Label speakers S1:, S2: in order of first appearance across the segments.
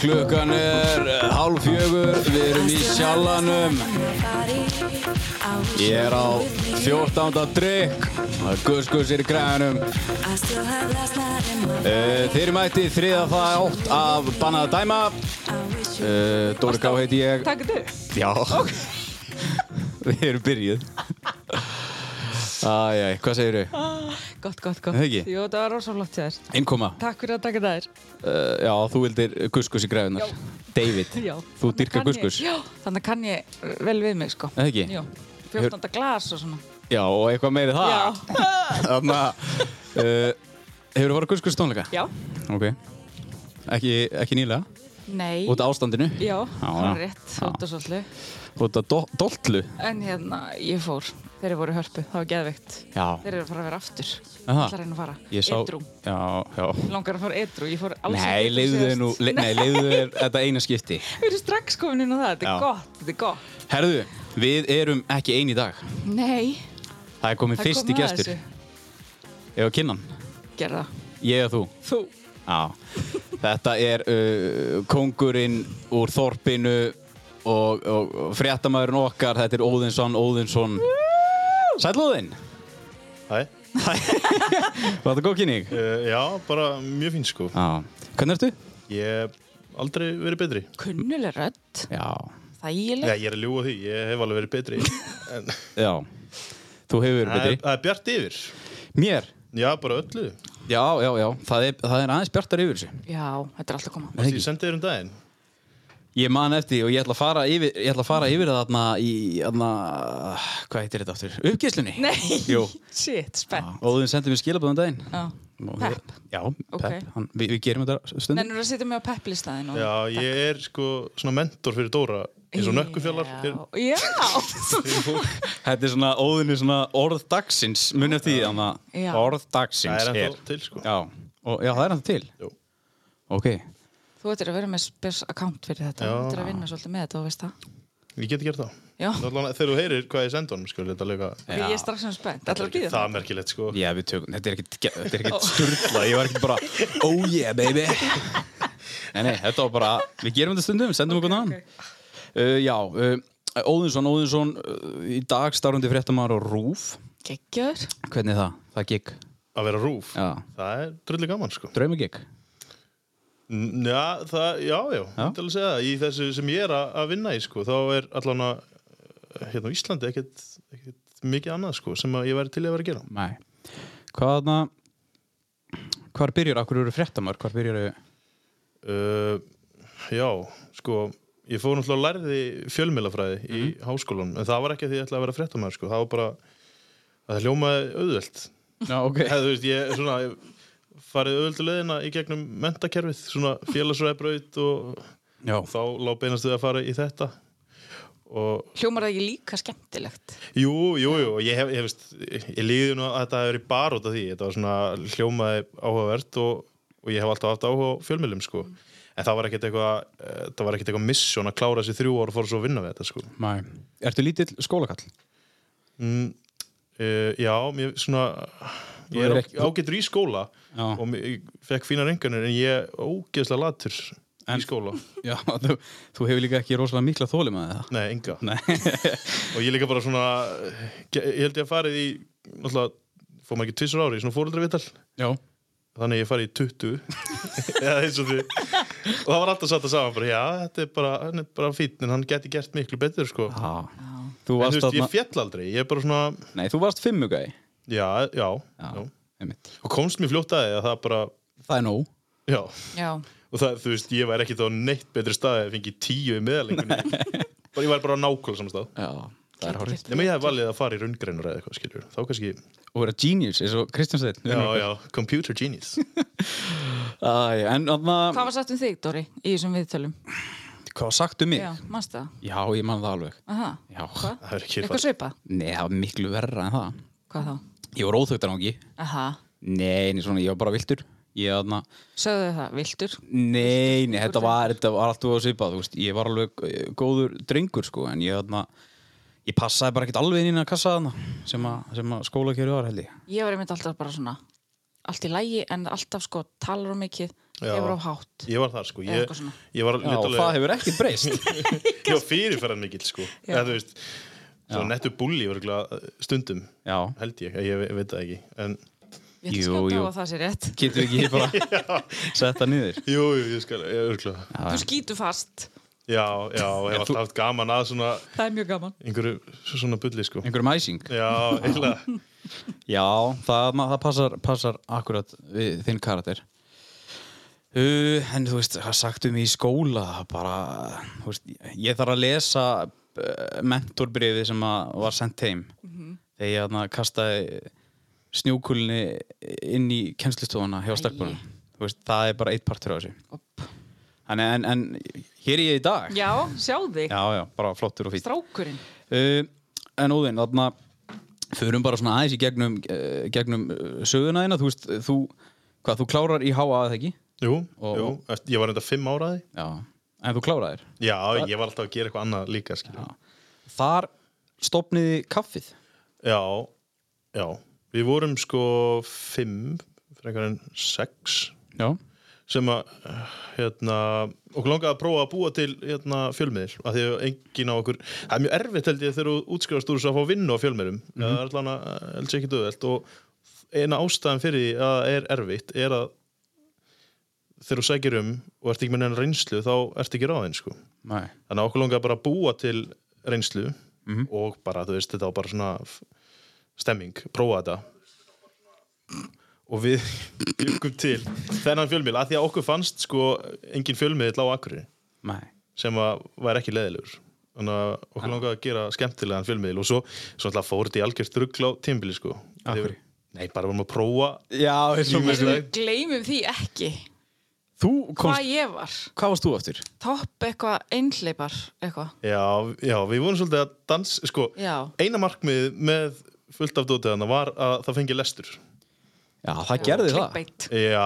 S1: klukkan er eh, hálf fjögur, við erum í sjallanum Ég er á 14. drikk, það er guðskussir í græðinum Eh, Þeir eru mætti þriða þátt af Bannaða Dæma Eh, Dóri Gá heiti ég
S2: Takk þetta upp
S1: Já Við erum byrjuð Æjæj, hvað segir þau?
S2: Ah. Gott, gott, gott
S1: Hei, ekki?
S2: Jú, það var rosa flott hjá þér
S1: Innkoma
S2: Takk fyrir að taka þær
S1: uh, Já, þú vildir guðskuss í græðunar
S2: Já.
S1: David,
S2: Já
S1: þú
S2: Þannig
S1: dyrkar
S2: kann ég-
S1: guðskuss
S2: Já, þannig kann ég vel við mig sko
S1: Nei, ekki?
S2: Jú, 14. glas og svona
S1: Já, og eitthvað meiri það
S2: Já
S1: Þannig að uh, Hefur þú farið guðskuss tónleika?
S2: Já
S1: Ok Ekki, ekki nýlega?
S2: Nei
S1: Út af ástandinu?
S2: Já, það
S1: já.
S2: er rétt, út og svolítið
S1: Út af do dollu?
S2: En hérna, ég fór Þeir eru voru í hörpu, það var geðveikt
S1: Já
S2: Þeir eru að fara að vera aftur Það
S1: Aha.
S2: ætlar henni að fara
S1: Ég sá
S2: Edrú
S1: Já, já
S2: Langar að fara edrú, ég fór alls
S1: Nei, leiðu þau nú le, Nei, leiðu þau þetta eina skipti
S2: Við erum strax komin inn á það, þetta
S1: Já.
S2: er gott, þetta er gott
S1: Herðu, við erum ekki ein í dag
S2: Nei
S1: Það er komið
S2: það er
S1: fyrsti
S2: komið að
S1: gestur
S2: þessu.
S1: Ég var kinnan
S2: Gerðu það.
S1: Ég og þú
S2: Þú
S1: Já Þetta er uh, kongurinn úr þorpinu og, og, og fréttamaðurinn okkar Þetta er Óðinsson, Óðinsson Sæll Óðinn
S3: Hæ?
S1: Var þetta góð kynning?
S3: Uh, já, bara mjög fín sko.
S1: Já Hvernig ertu?
S3: Ég hef aldrei verið betri.
S2: kunnuleg rödd,
S1: Já
S3: Já,
S2: þægileg
S3: ég er að ljúa því, ég hef alveg verið betri. En
S1: Já Þú hefur verið
S3: það er-
S1: betri
S3: það er bjart yfir.
S1: Mér
S3: Já, bara öllu.
S1: Já, já, já Það er, það er aðeins bjartar yfir þessu
S2: Já, þetta er alltaf að koma
S1: Nei,
S3: Það
S1: ekki.
S3: ég sendi þér um daginn.
S1: Ég man eftir því og ég ætla að fara yfir, ég ætla að fara yfir það þarna í, þarna, hvað heitir þetta aftur? Uppgíslunni?
S2: Nei,
S1: Jú.
S2: shit, spennt
S1: Óðun sendið mér skilabóðum daginn.
S2: Já.
S1: Og ég-
S2: Pepp,
S1: Já,
S2: Ok.
S1: Pepp. Hann, vi, við gerum þetta stundum.
S2: nennur að sitja mig á pepplistaðin og...
S3: Já, ég er sko svona mentor fyrir Dóra. Eins og nökkufjallar. fyrir-
S2: Já,
S3: fyrir fólk.
S1: Þetta er svona, Óðun er svona orð dagsins, munið eftir því, þannig
S2: Já.
S1: að orð
S3: Það
S1: dagsins
S3: er
S1: er.
S3: ennþá til sko.
S1: Já, og, já, það er hann til.
S3: Jú.
S1: Ok.
S2: þú ættir að vera með spes account fyrir þetta, þú
S3: Já.
S2: ættir að vinna svolítið með þetta, þú veist það
S3: Ég geti gert það.
S2: Já,
S3: Það er allan að- Þegar þú heyrir hvað ég sendi honum, sko, þetta er líka...
S2: því ég er strax sem spennt, ætlar að býða
S3: Það er merkilegt sko.
S1: Já, við tökum, þetta er ekkert, ge- þetta er ekkert sturla, ég var ekkert bara, oh yeah baby. Nei, nei, þetta var bara, við gerum þetta stundum, sendum okkur okay, annan. Uh, já, uh, Óðinsson, Óðinsson, uh, í dag starfandi fréttamar og rúf.
S2: Gekkjör,
S1: Hvernig er það? Það er gig.
S3: Að vera rúf.
S1: Já.
S3: Það er drullu gaman sko.
S1: Draumagig.
S3: N- Já, það, já, já, ég ætla að segja það. Í þessu sem ég er að, að vinna í, sko, þá er allan að, hérna á Íslandi, ekkert, ekkert mikið annað, sko, sem að ég væri til í að vera að gera.
S1: Nei. Hvaðna, hvar byrjar, akkur eru fréttamar, hvar byrjar eru?
S3: Uh, já, sko, ég fór náttúrulega að lærði fjölmilafræði í háskólanum, en það var ekki að því ég ætla að vera fréttamaður, sko, það var bara, það hljómaði auðvelt.
S1: Já, ok.
S3: Eða, þú veist, ég, svona, ég farið auðveldu leðina í gegnum mentakerfið, svona félagsræðbraut og
S1: Já.
S3: þá lá beinastu að fara í þetta og
S2: hljómar það ekki líka skemmtilegt
S3: Jú, jú, jú, ég hef, ég veist, ég líði nú að þetta hefur verið bara út af því, þetta var svona hljómaði áhugavert og, og ég hef alltaf haft áhuga á fjölmiðlum, sko.
S1: Mm.
S3: En það var ekkert eitthvað, eh, það var ekkert eitthvað misjón að klára þessi þrjú ára og fóra svo að vinna við þetta, sko.
S1: Nei. Ertu lítill skólakall?
S3: Mm, uh, já, mér svona,
S1: Þú
S3: ég
S1: er
S3: er
S1: ekki-
S3: ekki, ágættur í skóla
S1: Já.
S3: og mér- ég fekk fína reynganir en ég er ógeðslega latur í skóla.
S1: Já, þú, þú hefur líka ekki rosalega mikla þólum að það.
S3: Nei, enga.
S1: Nei.
S3: og ég líka bara svona, ég held ég að farið í, náttúrulega, fór maður ekki tvissur ári, í svona fóreldravital.
S1: Já.
S3: Þannig að ég fari í 20 eða eins og því og það var alltaf satt að saman bara, já, þetta er bara, hann er bara fín en hann geti gert miklu betur sko en
S1: Já. Þú
S3: þú
S1: varst,
S3: veist,
S1: þarna...
S3: ég fjall aldrei, ég er bara svona
S1: Nei, þú varst fimmugæi.
S3: já, já, já,
S1: einmitt.
S3: og komst mér fljótt að því að það bara
S1: Það er nóg.
S3: já,
S2: Já,
S3: og það, þú veist, ég væri ekki þá neitt betri staði að fengi tíu í meðalengunni bara, ég væri bara á nákvæmlega saman stað
S1: Já, það er hórið.
S3: nema ég hef valið að fara í rundgreinar eða eitthvað, skiljur þá kannski,
S1: Og vera genius, eins og Kristján Steinn.
S3: já, já, computer genius
S1: Æ, en þannig
S2: hvað var sagt um þig, Dóri, í þessum viðtölum?
S1: Hvað sagtu mig?
S2: Já,
S1: Já.
S2: manstu það?
S1: ég man það alveg.
S2: Aha,
S1: Já.
S2: hvað?
S3: það er ekki
S2: Eitthvað svipað?
S1: Nei, það var miklu verra en það.
S2: Hvað þá?
S1: Ég var óþögtan á ekki.
S2: Aha,
S1: Nei, nei, svona, ég var bara viltur. Ég, þarna,
S2: sögðu þau það, viltur?
S1: nei, nei, þetta var, þetta var alltaf að svipa, þú veist, ég var alveg eh, góður drengur, sko, en ég, þarna, ég passaði bara ekkert alveg inn í að kassa þarna, sem að, sem að skóla var, held ég.
S2: Ég var einmitt alltaf bara svona allt í lægi en alltaf sko talar um mikið
S3: Já.
S2: Hefur of hátt
S3: Ég var þar sko
S2: Eða
S3: Ég,
S2: eitthvað svona.
S3: ég var
S1: Já,
S3: litalega
S1: það hefur ekki breyst
S3: Ég var fyrirferðan mikill sko
S2: Já.
S3: Eða þú veist Svo
S1: Já.
S3: nettu búli örugglega, eh, stundum
S1: Já,
S3: Held ég, ég, ég veit það ekki En
S2: Ég ætla
S1: Jú,
S2: að skjóta
S1: jú.
S2: á að það sé rétt
S1: getur við ekki bara setta nýður
S3: Jú, jú, ég skal, ég örgla
S2: Þú skýtu fast,
S3: Já, já, hef alltaf haft gaman að svona
S2: það er mjög gaman
S3: einhverju svona bulli sko
S1: einhverjum æsing
S3: Já, eiginlega
S1: Já, það, ma- það passar, passar akkurat við þinn karakter uh, En þú veist, það sagt um í skóla það bara, þú veist, ég þarf að lesa uh, mentorbriðið sem að var sendt heim
S2: Mhm.
S1: þegar ég þarna kastaði snjúkulni inn í kennslustofuna hjá
S2: Æi.
S1: stelpunum Þú veist, það er bara eitt partur á þessu
S2: Opp.
S1: en, en, en hér er ég í dag
S2: Já, sjá þig,
S1: já, já, bara flottur og fínt
S2: strákurinn
S1: uh, En Óðinn, þarna förum bara svona aðeins í gegnum, uh, gegnum uh, söguna þína, þú veist, þú hvað, þú klárar í háa eða ekki?
S3: Jú,
S1: Og-
S3: jú, eftir, ég var enda fimm áraði
S1: Já. En þú kláraðir?
S3: Já, ég var alltaf að gera eitthvað annað líka skilja.
S1: Þar stopniði kaffið
S3: Já, já Við vorum sko fimm frekar en sex
S1: Já.
S3: sem að hérna, okkur langaði að prófa að búa til hérna, fjölmiðil, af því að engin á okkur það er mjög erfitt held ég þegar þú útskrifast úr þess að fá vinnu á fjölmiðlum það er allan að helst ekki döðvelt og eina ástæðan fyrir því að það er erfitt er að þegar þú sækir um og ert ekki með neina reynslu þá ert ekki ráðin sko.
S1: Nei.
S3: þannig að okkur langaði bara að búa til reynslu og bara, þú veist, þetta var bara svona f- stemming, prófa þetta og við byggum til þennan fjölmiðl að því að okkur fannst sko engin fjölmiðl á Akureyri
S1: Nei.
S3: sem að væri ekki leðilegur þannig að okkur langaði að gera skemmtilegan fjölmiðl og svo, svo alltaf fór þetta í algjörst ruggl á tímbili sko
S1: Af hverju?
S3: Þegar- Nei, bara vorum að prófa
S1: Já, eins og
S2: Við gleymum því ekki
S1: Þú komst,
S2: hvað ég var
S1: hvað varst þú aftur?
S2: Topp eitthvað einhleipar eitthvað
S3: Já, já, við vorum svolítið að dans sko,
S2: Já.
S3: eina markmið með fullt af dótið hana var að það fengi lestur
S1: Já, það gerði það.
S2: Clickbait.
S3: Já,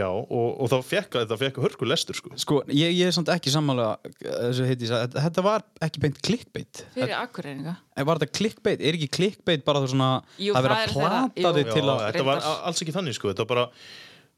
S3: já, og, og það fekk, það fekk hörku lestur sko.
S1: Sko, ég, ég er samt ekki sammála eh, þessu heiti, þetta þetta var ekki beint clickbait.
S2: Fyrir akkurreininga
S1: En var þetta clickbait? Er ekki clickbait bara þú svona,
S2: Jú,
S1: það er
S2: það
S1: verið
S2: er
S1: að
S2: þeirra-
S1: plata
S2: jú.
S1: þig til að...
S2: Já,
S3: Þetta var
S2: reyndar.
S3: alls ekki þannig sko, þetta var bara,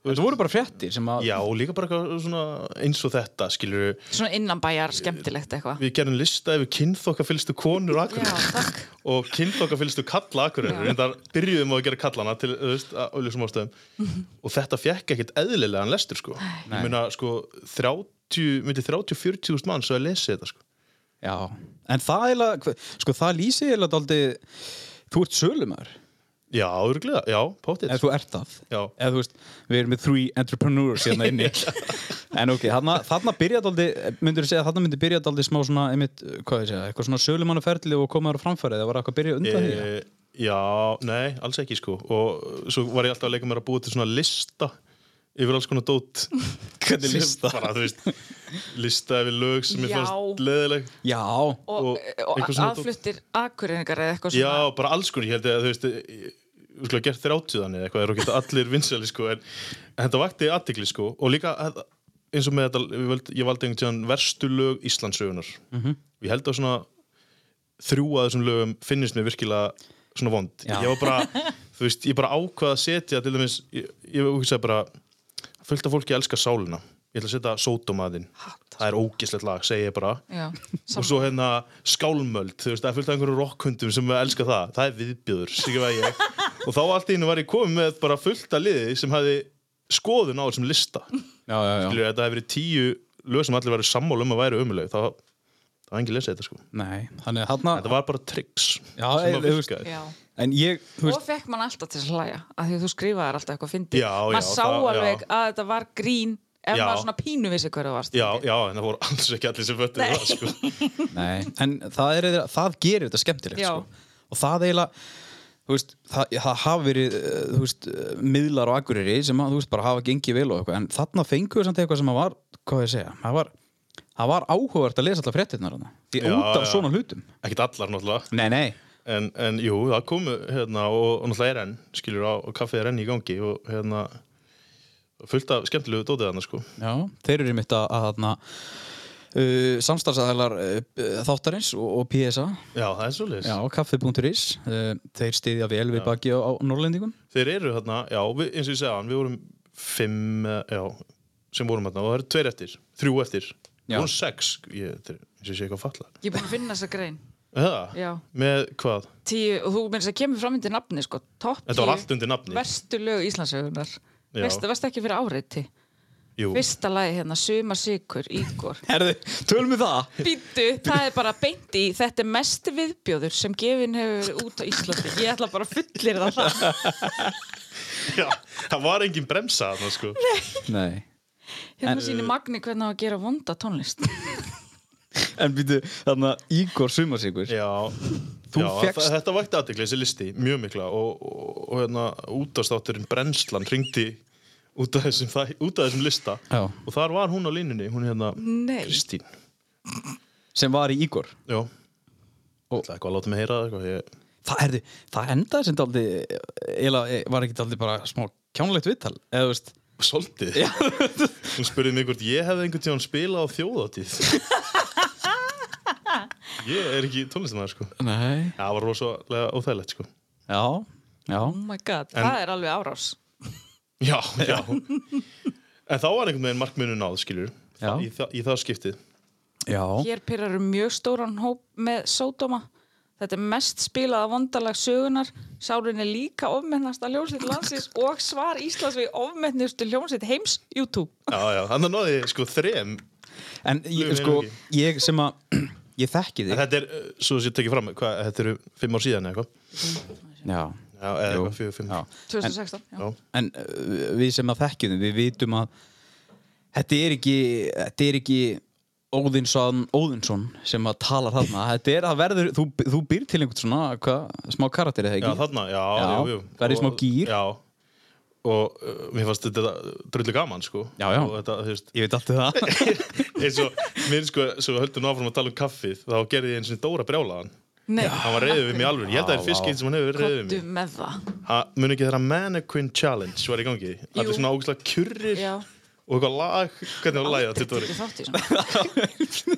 S1: Þetta voru bara fréttir sem að...
S3: já, og líka bara eitthvað svona eins og þetta, skilur
S2: Svona innanbæjar skemmtilegt eitthvað
S3: við gerum lista yfir kynþokka fylgstu konur
S2: Já,
S3: akkurir
S2: takk
S3: og kynþokka fylgstu kalla akkurir
S2: Já.
S3: en þar byrjuðum á að gera kallana til, þú veist, að auðvitað ástæðum
S2: Mhm.
S3: og þetta fekk ekkit eðlilegan lestur sko.
S1: Nei.
S3: ég meina, sko, 30 myndi 30-40 þúsund mann svo að lesi þetta sko.
S1: Já, en það er að, sko það lýsir eða daldi, þú ert sölumar
S3: já, örglega, já, pótið
S1: ef þú ert það,
S3: Já.
S1: eða þú veist við erum með three entrepreneurs hérna inni en ok, þarna, þarna byrja daldi myndur þú segja, að þarna myndi byrja daldi smá svona einmitt, hvað ég segja, eitthvað svona sölumannaferli og komaður á framfæri, það var eitthvað að byrja undan því
S3: e, Já, nei, alls ekki sko og uh, svo var ég alltaf að leika mér að búa til svona lista yfir alls konar dót
S1: Hvernig lista?
S3: Bara, þú veist, lista yfir lög sem ég
S2: Já.
S3: fannst leðileg
S1: Já,
S2: Og,
S3: Og
S2: og
S3: eitthvað svona-
S2: aðfluttir akkurreiningar eða eitthvað
S3: Já,
S2: svona
S3: bara alls konar, ég held að þú veist ég- við skulle hafa gert þrjáttuðan eða eitthvað er okkur allir vinsæli sko en, en þetta vakti aðtikli sko og líka að- eins og með þetta, ég valdi, ég valdi einhvern tíðan verstu lög Íslandsögunar
S2: Mhm.
S3: og ég held að svona þrjú að þessum lögum finnist mér virkilega svona vond
S1: Já.
S3: ég var bara, þú veist, ég bara ákvað að setja til dæmis, ég, ég hugsaði bara fullt af fólki elskar sálina ég ætla að setja sótomaðin það er ógislegt lag, segi ég bara
S2: Já,
S3: og svo hérna skálmöld þú veist, það er fullt af einhverjum rockhundum sem elska það það er viðbjöður, sigur að ég og þá allt í hennu var ég komið með bara fullt af liði sem hafi skoðun á þessum lista
S1: já, já, já,
S3: Skilur, þetta hefur verið tíu lög sem allir verið sammála um að væri umuleg þá, þá var engin lesið þetta sko
S1: nei, þannig að þarna
S3: þetta var bara tricks
S1: Já,
S3: sem að
S1: þú veist-
S3: virkaði
S2: já.
S1: en ég, þú
S2: Og
S1: veist,
S2: fekk mann alltaf til þess að hlæja af Því að þú skrifaðir alltaf eitthvað fyndi
S3: Já, já,
S2: Maður sá
S3: það-
S2: alveg
S3: já.
S2: að þetta var grín Ef
S3: Já.
S2: maður svona pínu vissi hverju það varst
S3: Já, já, en það voru alls ekki allir sem föttu það sko.
S1: nei, en það er það gerir þetta skemmtilegt,
S2: Já.
S1: sko og það eiginlega þú veist, það, það hafa verið eh, þú veist, eh, miðlar og aguriri sem að, þú veist, bara hafa gengið vel og eitthvað en þarna fenguðu samt eitthvað sem að var, hvað á ég að segja það var, það var áhugavert að lesa alltaf fréttirnar hana, því
S3: Já,
S1: út af
S3: já.
S1: svona hlutum
S3: Ekkert allar náttúrulega
S1: Nei, nei,
S3: en, en jú, það komu hérna og, og náttúrulega er enn, skilur á og kaffið er enn í gangi og hérna fullt af skemmtilegu dótið hann sko.
S1: já, þeir eru mitt að, að þarna Uh, samstarfsæðalar uh, þáttarins og, og PSA
S3: Já, það er svolítið
S1: já, kaffi.is uh, þeir stiðja vel við baki á, á Norrlendingum
S3: Þeir eru hérna, já, við, eins og ég segja hann, við vorum fimm, eh, já, sem vorum þarna og það eru tveir eftir, þrjú eftir
S1: Já.
S3: vorum sex, ég, þetta er- eins og ég sé eitthvað falla
S2: Ég er búin að finna þessa grein.
S3: það,
S2: Já.
S3: með hvað
S2: Tíu, og þú minnst að kemur fram undir nafni, sko. Topp
S3: þetta var
S2: tíu
S3: allt undir nafni
S2: Verstu lög Íslandsögunar.
S3: Já.
S2: Veist, veist ekki fyrir áreiti.
S3: Jú.
S2: Fyrsta lagi hérna, Suma Sigur, Ígor.
S1: Herðu, tölum við það
S2: Býttu, það er bara beint í þetta er mest viðbjóður sem gefin hefur verið út á Íslandi. Ég ætla bara að fullir það það.
S3: Já, það var engin bremsa þarna sko
S1: Nei
S2: Hérna sýnir Magni hvernig á að gera vonda tónlist.
S1: En býtu, þarna Ígor Sumarsíkur
S3: Já,
S1: Þú
S3: já
S1: fékkst-
S3: það, þetta vækti aðtekli þessi listi, mjög mikla og, og, og hérna útastátturinn Brenslan ringdi út af þessum, þæ- út af þessum lista
S1: Já.
S3: og þar var hún á línunni, hún hérna
S2: Nei.
S3: Kristín
S1: sem var í Ígor
S3: Já Það er eitthvað að láta mig heyra það eitthvað ég...
S1: Það, herðu, það endaði sem daldi eila, var ekki daldi bara smá kjánlegt viðtal eða þú veist
S3: Svolítið Hún spurði mig hvort ég hefði einhvern tíðan spilað á þjóðatíð Ég er ekki tónlistamæður sko
S1: Nei
S3: Það var rosalega óþægilegt sko
S1: Já, já
S2: Oh my god, það er alveg árás.
S3: Já, já En þá var einhvern veginn markmunum náð skilur
S1: Já.
S3: í, þa í það skiptið
S1: Já,
S2: Hér pyrraru mjög stóran hóp með sódóma. Þetta er mest spilaða vondalag sögunar. Sárin er líka ofmennasta hljómsveit landsins og svar Íslands við ofmennustu hljómsveit heims YouTube.
S3: Já, já, þannig náði ég sko þrem
S1: en
S3: En
S1: ég,
S3: Guð minn
S1: sko,
S3: ekki.
S1: ég sem að ég þekki þig
S3: þetta er, uh, svo þess ég tekið fram hvað, Þetta eru fimm ár síðan eða eitthvað
S1: Já,
S3: Já, eða
S1: Jú.
S3: eitthvað fjögur, fimm
S1: já.
S2: 2016. já.
S3: Já.
S1: en uh, við sem að þekkjum þið, við vitum að þetta er ekki þetta er ekki Óðinsson, Óðinsson sem að tala þarna þetta er að verður, þú, þú býr til einhvern svona hva, smá karakter eða
S3: Já,
S1: ekki
S3: þarna, já,
S1: Já,
S3: jú, jú.
S1: það er í smá
S3: Og-
S1: gír.
S3: Já, og uh, mér fannst þetta drullu gaman, sko
S1: Já, já.
S3: Og þetta, þú veist,
S1: ég veit alltaf það
S3: eins og, mér sko, svo við höldum áfram að tala um kaffið Þá gerði ég eins og Dóra brjálaðan
S2: Nei,
S3: Hann var reyðið við mig alveg, ég held að það er
S1: Vá,
S2: Ah,
S3: fyrst skeitt sem hann hefur verið reyðið
S2: kottu
S3: við mig
S2: með það.
S3: Ha- Mun ekki þeirra Mannequin Challenge var í gangi Allir svona ógustlega kjurrir
S2: Já.
S3: og eitthvað lag, hvernig var lagið á
S2: Aldrei
S3: Tuttori
S2: tekið þátt í svona.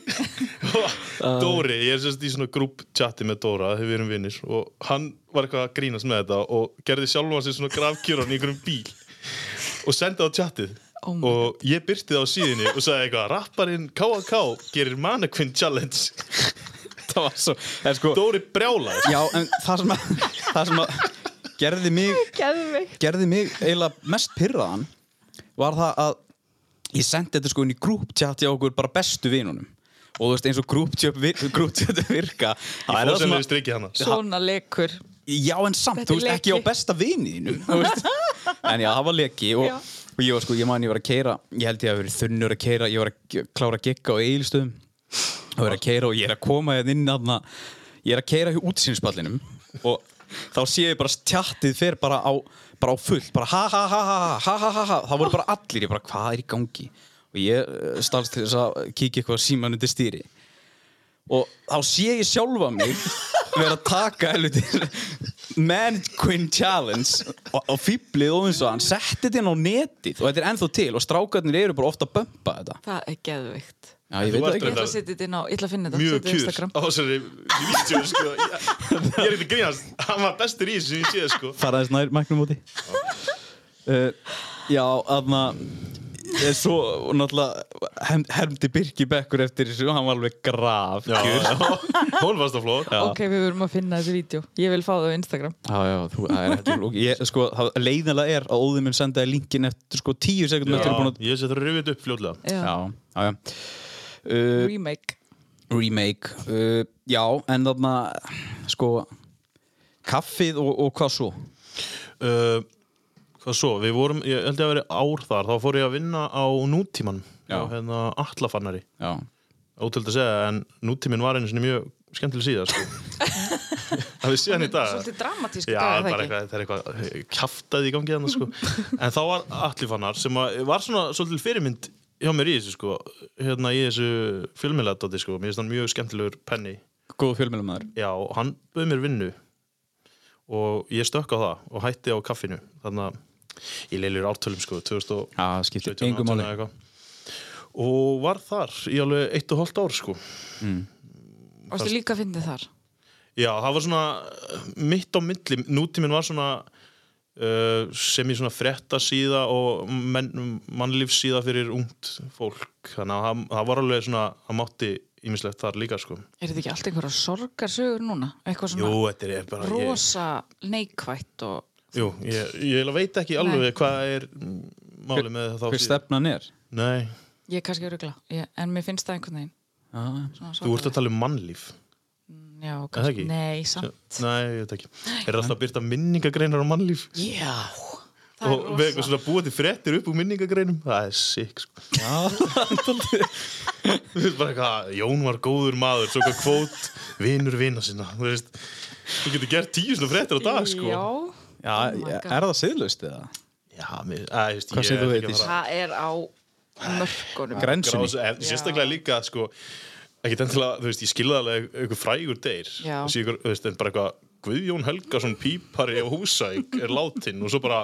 S3: Dóri, ég er sérst í svona grúp chati með Dóra, þegar við erum vinnir og hann var eitthvað að grínast með þetta og gerði sjálfan sér svona grafkjörun í einhverjum bíl og sendi það á chatið
S2: Oh my
S3: og ég byrti það á síðinni og sagði eitthvað rapparinn K.A.K. gerir mannequin challenge
S1: það var svo, en sko
S3: Dóri brjálaði
S1: já, en það sem að, það sem að gerði mig
S2: Geðveik.
S1: gerði mig eiginlega mest pyrraðan var það að ég sendi þetta sko inn í grúptjátt hjá okkur bara bestu vinunum og þú veist eins og grúptjátt virka það
S3: Ég
S1: er það
S3: fór
S1: sem
S3: sem
S1: að
S3: við strikki hana
S2: Svona leikur.
S1: Já, en samt,
S2: Þetta
S1: þú
S2: er
S1: veist, ekki á
S2: leki.
S1: besta viniðinu En já, það var leki og,
S2: Já.
S1: og ég var sko, ég man, ég var að keira Ég held ég að verið þunnur að keira Ég var að k- klára að gigga á eigilstöðum Og verið að keira og ég er að koma hérna inn aðna, Ég er að keira hjá útsýnsballinum Og þá sé ég bara tjattið fer bara á, bara á fullt Bara ha ha ha ha ha ha ha ha Það voru bara allir, ég bara, hvað er í gangi? Og ég stálst til þess að kíkja eitthvað síman undir stýri og þá sé ég sjálfa mig vera að taka helviti mannequin challenge og, og fýblið og eins og hann setti þetta inn á netið og þetta er ennþá til og strákarnir eru bara ofta að bömpa þetta
S2: Það er geðveikt.
S1: Já, ég
S3: Þú
S1: veit það
S3: ert
S2: Ég
S1: ekki
S2: ætla að setja þetta inn á, ég ætla að finna þetta. setja
S3: Mjög
S2: á
S3: kjur
S2: Instagram.
S3: á þessari vítjó sko. Ég ég er ekki að grínast, hann var bestur í þessu sem ég séð sko
S1: faraðist nær mæknum úti uh, Já, aðna eh, svo og náttúrulega hem, hermdi Birki Bekkur eftir þessu og hann var alveg graf
S3: Já, já. Hún varst á flóð
S2: Ok, við verum að finna þessi vídeo. Ég vil fá það á Instagram.
S1: Já, já, þú, það er ekki flókið. ég, sko, það leiðinlega er að Óðið minn sendaði linkin eftir sko tíu sekundum eftir að búin að
S3: Ég sé þetta rifið upp
S2: Já.
S3: fljóðlega
S1: Já, já, já. Uh,
S2: Remake.
S1: remake uh, Já, en þarna sko kaffið og, og hvað svo
S3: uh, hvað svo, við vorum ég held ég að vera ár þar, þá fór ég að vinna á nútíman,
S1: Já.
S3: á hérna allafannari,
S1: Já,
S3: ótöld að segja en nútíminn var einu sinni mjög skemmtileg síða sko. það við síðan í dag
S2: Svolítið dramatísku
S3: Já,
S2: dagar,
S3: bara
S2: það ekki?
S3: eitthvað, það er eitthvað kjaftaði í gangi þannig sko. en þá var allifannar sem að, var svona svolítið fyrirmynd hjá mér í þessu sko, hérna í þessu fjölmiðlæðdóti sko, mér finnst hann mjög skemmtilegur penni
S1: góð fjölmjölumæður
S3: Já, og hann bauð mér vinnu og ég stökk á það og hætti á kaffinu þannig að ég leilir ártölum sko 2017
S1: Já, það skiptir engu máli
S3: eða eitthvað. og var þar í alveg eitt og hálft ár sko
S2: Varstu líka að finna þar?
S3: eh, Já, það var svona uh, mitt á milli nútíminn var svona uh, sem í svona frettasíða og menn, mannlífsíða fyrir ungt fólk þannig að hann- það var alveg svona, hann mátti ímislegt þar líka sko
S2: Er þetta ekki allt einhverja sorgarsögur núna? Eitthvað
S3: Jú,
S2: svona
S3: þetta er bara ég,
S2: rosa neikvætt og
S3: Jú, ég, ég eiginlega veit ekki alveg hvað er mm, málið með þá
S1: Hver stefnan er?
S3: Nei,
S2: ég er kannski örugla, ég, en mér finnst það einhvern veginn.
S1: Já,
S2: Svona
S3: þú ert að tala um mannlíf
S2: sorglegt. Já,
S3: það
S2: kannski,
S3: ekki?
S2: nei, samt.
S3: Nei, ég veit ekki Er alltaf að byrta minningagreinar á mannlíf
S2: Já, það
S3: og við
S2: er
S3: eitthvað
S2: rosa.
S3: svona búið til frettir upp úr minningagreinum það er sikk sko.
S2: Oh
S3: Þú veist bara eitthvað, Jón var góður maður svo hvað kvót, vinur vina sinna þú veist, þú getur gert tíu svona frettir á dag sko
S2: Já,
S1: Já,
S2: Oh my God.
S1: er það siðlust eða?
S3: Já, mér, að, veist,
S1: Hvað
S3: ég
S1: segir
S3: er
S1: þú,
S3: ekki að
S1: Heiðdís?
S3: fara-
S2: það er á mörkunum.
S1: Grensunni?
S3: grásu, en,
S2: Já.
S3: sérstaklega líka sko, ekki endilega, þú veist, ég skilða alveg einhver frægur deyr
S2: Já.
S3: Þessi ykkur, þú veist, en bara eitthvað Guðjón Helgason pípari á húsæk er látin og svo bara